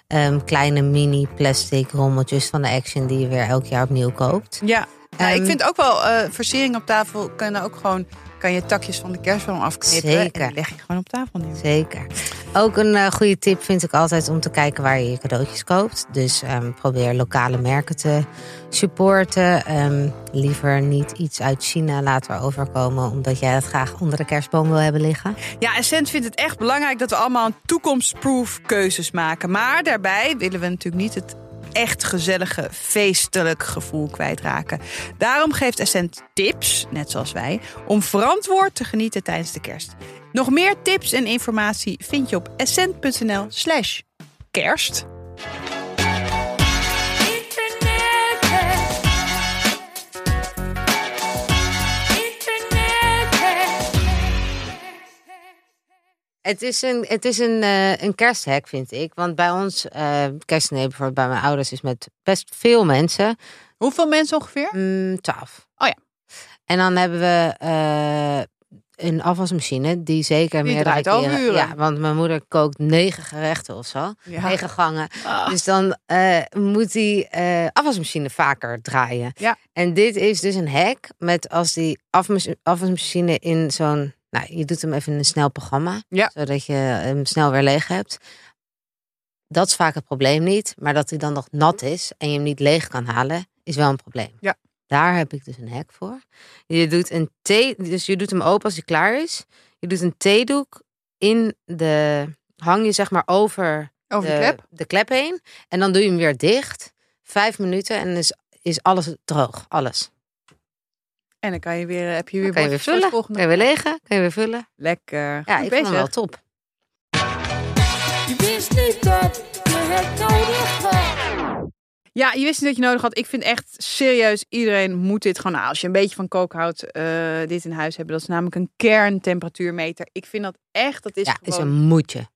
Speaker 2: ehm, kleine mini plastic rommeltjes van de Action... die je weer elk jaar opnieuw koopt.
Speaker 1: Ja, nou,
Speaker 2: Ehm,
Speaker 1: ik vind ook wel eh versiering op tafel kunnen ook gewoon... Kan je takjes van de kerstboom afknippen
Speaker 2: Zeker.
Speaker 1: en die leg je gewoon op tafel neer.
Speaker 2: Zeker. Ook een eh, goede tip vind ik altijd om te kijken waar je je cadeautjes koopt. Dus ehm, probeer lokale merken te supporten. Ehm, liever niet iets uit China laten overkomen, omdat jij dat graag onder de kerstboom wil hebben liggen.
Speaker 1: Ja, Essent vindt het echt belangrijk dat we allemaal toekomstproof keuzes maken. Maar daarbij willen we natuurlijk niet het echt gezellige, feestelijk gevoel kwijtraken. Daarom geeft Essent tips, net zoals wij, om verantwoord te genieten tijdens de kerst. Nog meer tips en informatie vind je op essent.nl slash kerst.
Speaker 2: Het is een, het is een, eh, een kersthek, vind ik. Want bij ons, eh kerstdiner bijvoorbeeld bij mijn ouders, is met best veel mensen.
Speaker 1: Hoeveel mensen ongeveer?
Speaker 2: Mm, 12.
Speaker 1: Oh ja.
Speaker 2: En dan hebben we eh, een afwasmachine die zeker
Speaker 1: Die
Speaker 2: meerdere
Speaker 1: draait al
Speaker 2: keren-
Speaker 1: uren.
Speaker 2: Ja, want mijn moeder kookt negen gerechten of zo.
Speaker 1: Ja.
Speaker 2: Negen gangen.
Speaker 1: Ah.
Speaker 2: Dus dan eh, moet die eh, afwasmachine vaker draaien.
Speaker 1: Ja.
Speaker 2: En dit is dus een hack met als die afwas- afwasmachine in zo'n... Nou, je doet hem even in een snel programma.
Speaker 1: Ja.
Speaker 2: Zodat je hem snel weer leeg hebt. Dat is vaak het probleem niet. Maar dat hij dan nog nat is en je hem niet leeg kan halen, is wel een probleem.
Speaker 1: Ja.
Speaker 2: Daar heb ik dus een hack voor. Je doet, een thee, dus je doet hem open als hij klaar is. Je doet een theedoek in de... Hang je zeg maar over
Speaker 1: Over de
Speaker 2: de-
Speaker 1: klep?
Speaker 2: de klep heen. En dan doe je hem weer dicht. Vijf minuten en is, is alles droog. Alles.
Speaker 1: En dan kan je weer, heb je weer,
Speaker 2: Kan je weer
Speaker 1: bordjes voor het
Speaker 2: vullen. Kan
Speaker 1: volgende.
Speaker 2: je weer legen. Kan je weer vullen.
Speaker 1: Lekker.
Speaker 2: Ja,
Speaker 1: Goed
Speaker 2: ik vind hem
Speaker 1: bezig.
Speaker 2: wel top.
Speaker 3: Je wist niet dat je het nodig had.
Speaker 1: Ja, je wist niet dat je nodig had. Ik vind echt serieus, iedereen moet dit gewoon. Nou, als je een beetje van kook houdt, eh, dit in huis hebben. Dat is namelijk een kerntemperatuurmeter. Ik vind dat echt, dat is
Speaker 2: ja, is
Speaker 1: gewoon
Speaker 2: een moedje.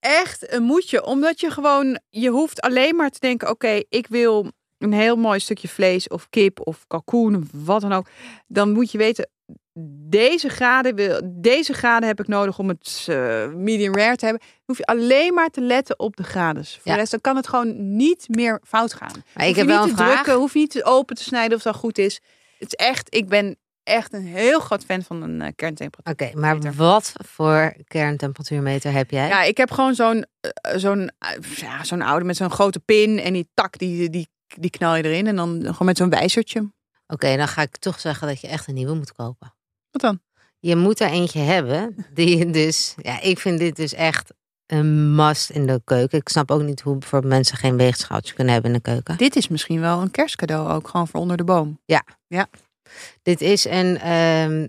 Speaker 1: echt een moetje. Omdat je gewoon, je hoeft alleen maar te denken: oké, ik wil een heel mooi stukje vlees of kip of kalkoen, of wat dan ook. Dan moet je weten. Deze graden, wil, deze graden heb ik nodig om het eh, medium rare te hebben. Dan hoef je alleen maar te letten op de graden. Voor
Speaker 2: Ja.
Speaker 1: de rest dan kan het gewoon niet meer fout gaan.
Speaker 2: Maar ik
Speaker 1: Hoef
Speaker 2: heb
Speaker 1: je
Speaker 2: wel
Speaker 1: niet
Speaker 2: een
Speaker 1: te
Speaker 2: vraag.
Speaker 1: drukken, hoef je niet te open te snijden of dat goed is. Het is echt, ik ben echt een heel groot fan van een eh, kerntemperatuur.
Speaker 2: Oké, maar
Speaker 1: Meter.
Speaker 2: wat voor kerntemperatuurmeter heb jij?
Speaker 1: Ja, ik heb gewoon zo'n eh, zo'n eh, ja, zo'n oude met zo'n grote pin en die tak, die, die, die knal je erin. En dan gewoon met zo'n wijzertje.
Speaker 2: Oké, dan ga ik toch zeggen dat je echt een nieuwe moet kopen.
Speaker 1: Wat dan?
Speaker 2: je moet er eentje hebben. Die je dus, ja, ik vind dit dus echt een must in de keuken. Ik snap ook niet hoe bijvoorbeeld mensen geen weegschaaltje kunnen hebben in de keuken.
Speaker 1: Dit is misschien wel een kerstcadeau ook, gewoon voor onder de boom.
Speaker 2: Dit is een ehm,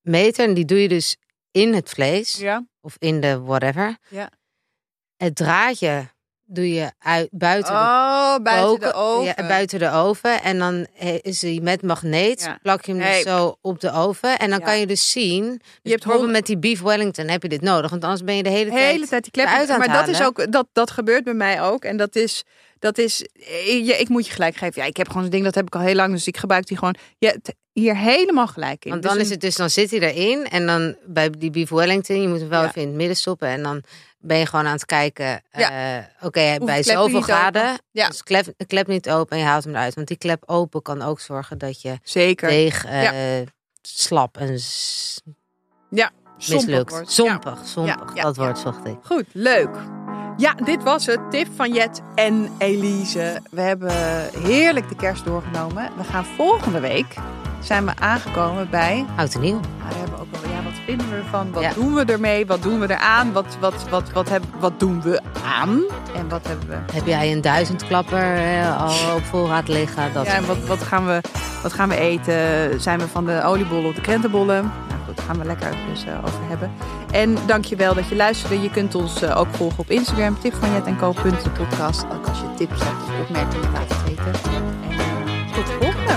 Speaker 2: meter en die doe je dus in het vlees
Speaker 1: Ja.
Speaker 2: of in de whatever.
Speaker 1: Ja.
Speaker 2: Het draadje doe je uit, buiten de
Speaker 1: Oh, buiten de
Speaker 2: koken-
Speaker 1: oven.
Speaker 2: Ja, buiten de oven. En dan he- is hij met magneet.
Speaker 1: Ja.
Speaker 2: Plak je hem dus
Speaker 1: Hey.
Speaker 2: zo op de oven. En dan
Speaker 1: Ja.
Speaker 2: kan je dus zien. Dus
Speaker 1: Je hebt
Speaker 2: bijvoorbeeld
Speaker 1: honderd-
Speaker 2: met die beef wellington heb je dit nodig. Want anders ben je de hele,
Speaker 1: de hele
Speaker 2: tijd...
Speaker 1: tijd die klep.
Speaker 2: eruit aan
Speaker 1: Maar
Speaker 2: het
Speaker 1: dat is
Speaker 2: halen.
Speaker 1: ook dat dat gebeurt bij mij ook en dat is dat is ik, ja, ik moet je gelijk geven. Ja, ik heb gewoon zo'n ding dat heb ik al heel lang, dus ik gebruik die gewoon. Je hebt hier helemaal gelijk in.
Speaker 2: Want
Speaker 1: Dus
Speaker 2: dan
Speaker 1: een-
Speaker 2: is het dus, dan zit hij erin. En dan bij die beef wellington, je moet hem wel
Speaker 1: Ja.
Speaker 2: even in het midden stoppen. En dan ben je gewoon aan het kijken. eh, Oké, bij
Speaker 1: klep je
Speaker 2: zoveel
Speaker 1: niet open?
Speaker 2: graden.
Speaker 1: Ja.
Speaker 2: Dus klep, klep niet open en je haalt hem eruit. Want die klep open kan ook zorgen dat je
Speaker 1: zeker
Speaker 2: deeg eh, slap en s-
Speaker 1: Sompig
Speaker 2: mislukt.
Speaker 1: wordt.
Speaker 2: Zompig, zompig.
Speaker 1: Ja, ja,
Speaker 2: Dat
Speaker 1: ja.
Speaker 2: woord zocht ik.
Speaker 1: Ja. Goed, leuk. Ja, dit was het. Tip van Jet en Elise. We hebben heerlijk de kerst doorgenomen. We gaan volgende week zijn we aangekomen bij
Speaker 2: Oud en nieuw.
Speaker 1: Maar we Ah, hebben ook wel, ja, wat vinden we ervan? Wat
Speaker 2: Ja.
Speaker 1: doen we ermee? Wat doen we eraan? Wat, wat, wat, wat, heb, wat doen we aan? En wat hebben we?
Speaker 2: Heb jij een duizendklapper eh, al op voorraad liggen? Dat
Speaker 1: Ja, en wat, wat, gaan we, wat gaan we eten? Zijn we van de oliebollen op de krentenbollen? Nou goed, daar gaan we lekker dus, eh, over hebben. En dankjewel dat je luisterde. Je kunt ons eh, ook volgen op Instagram. Tip van Jet en Co. podcast. Ook als je tips hebt of opmerkingen laat het weten. En eh, tot de volgende.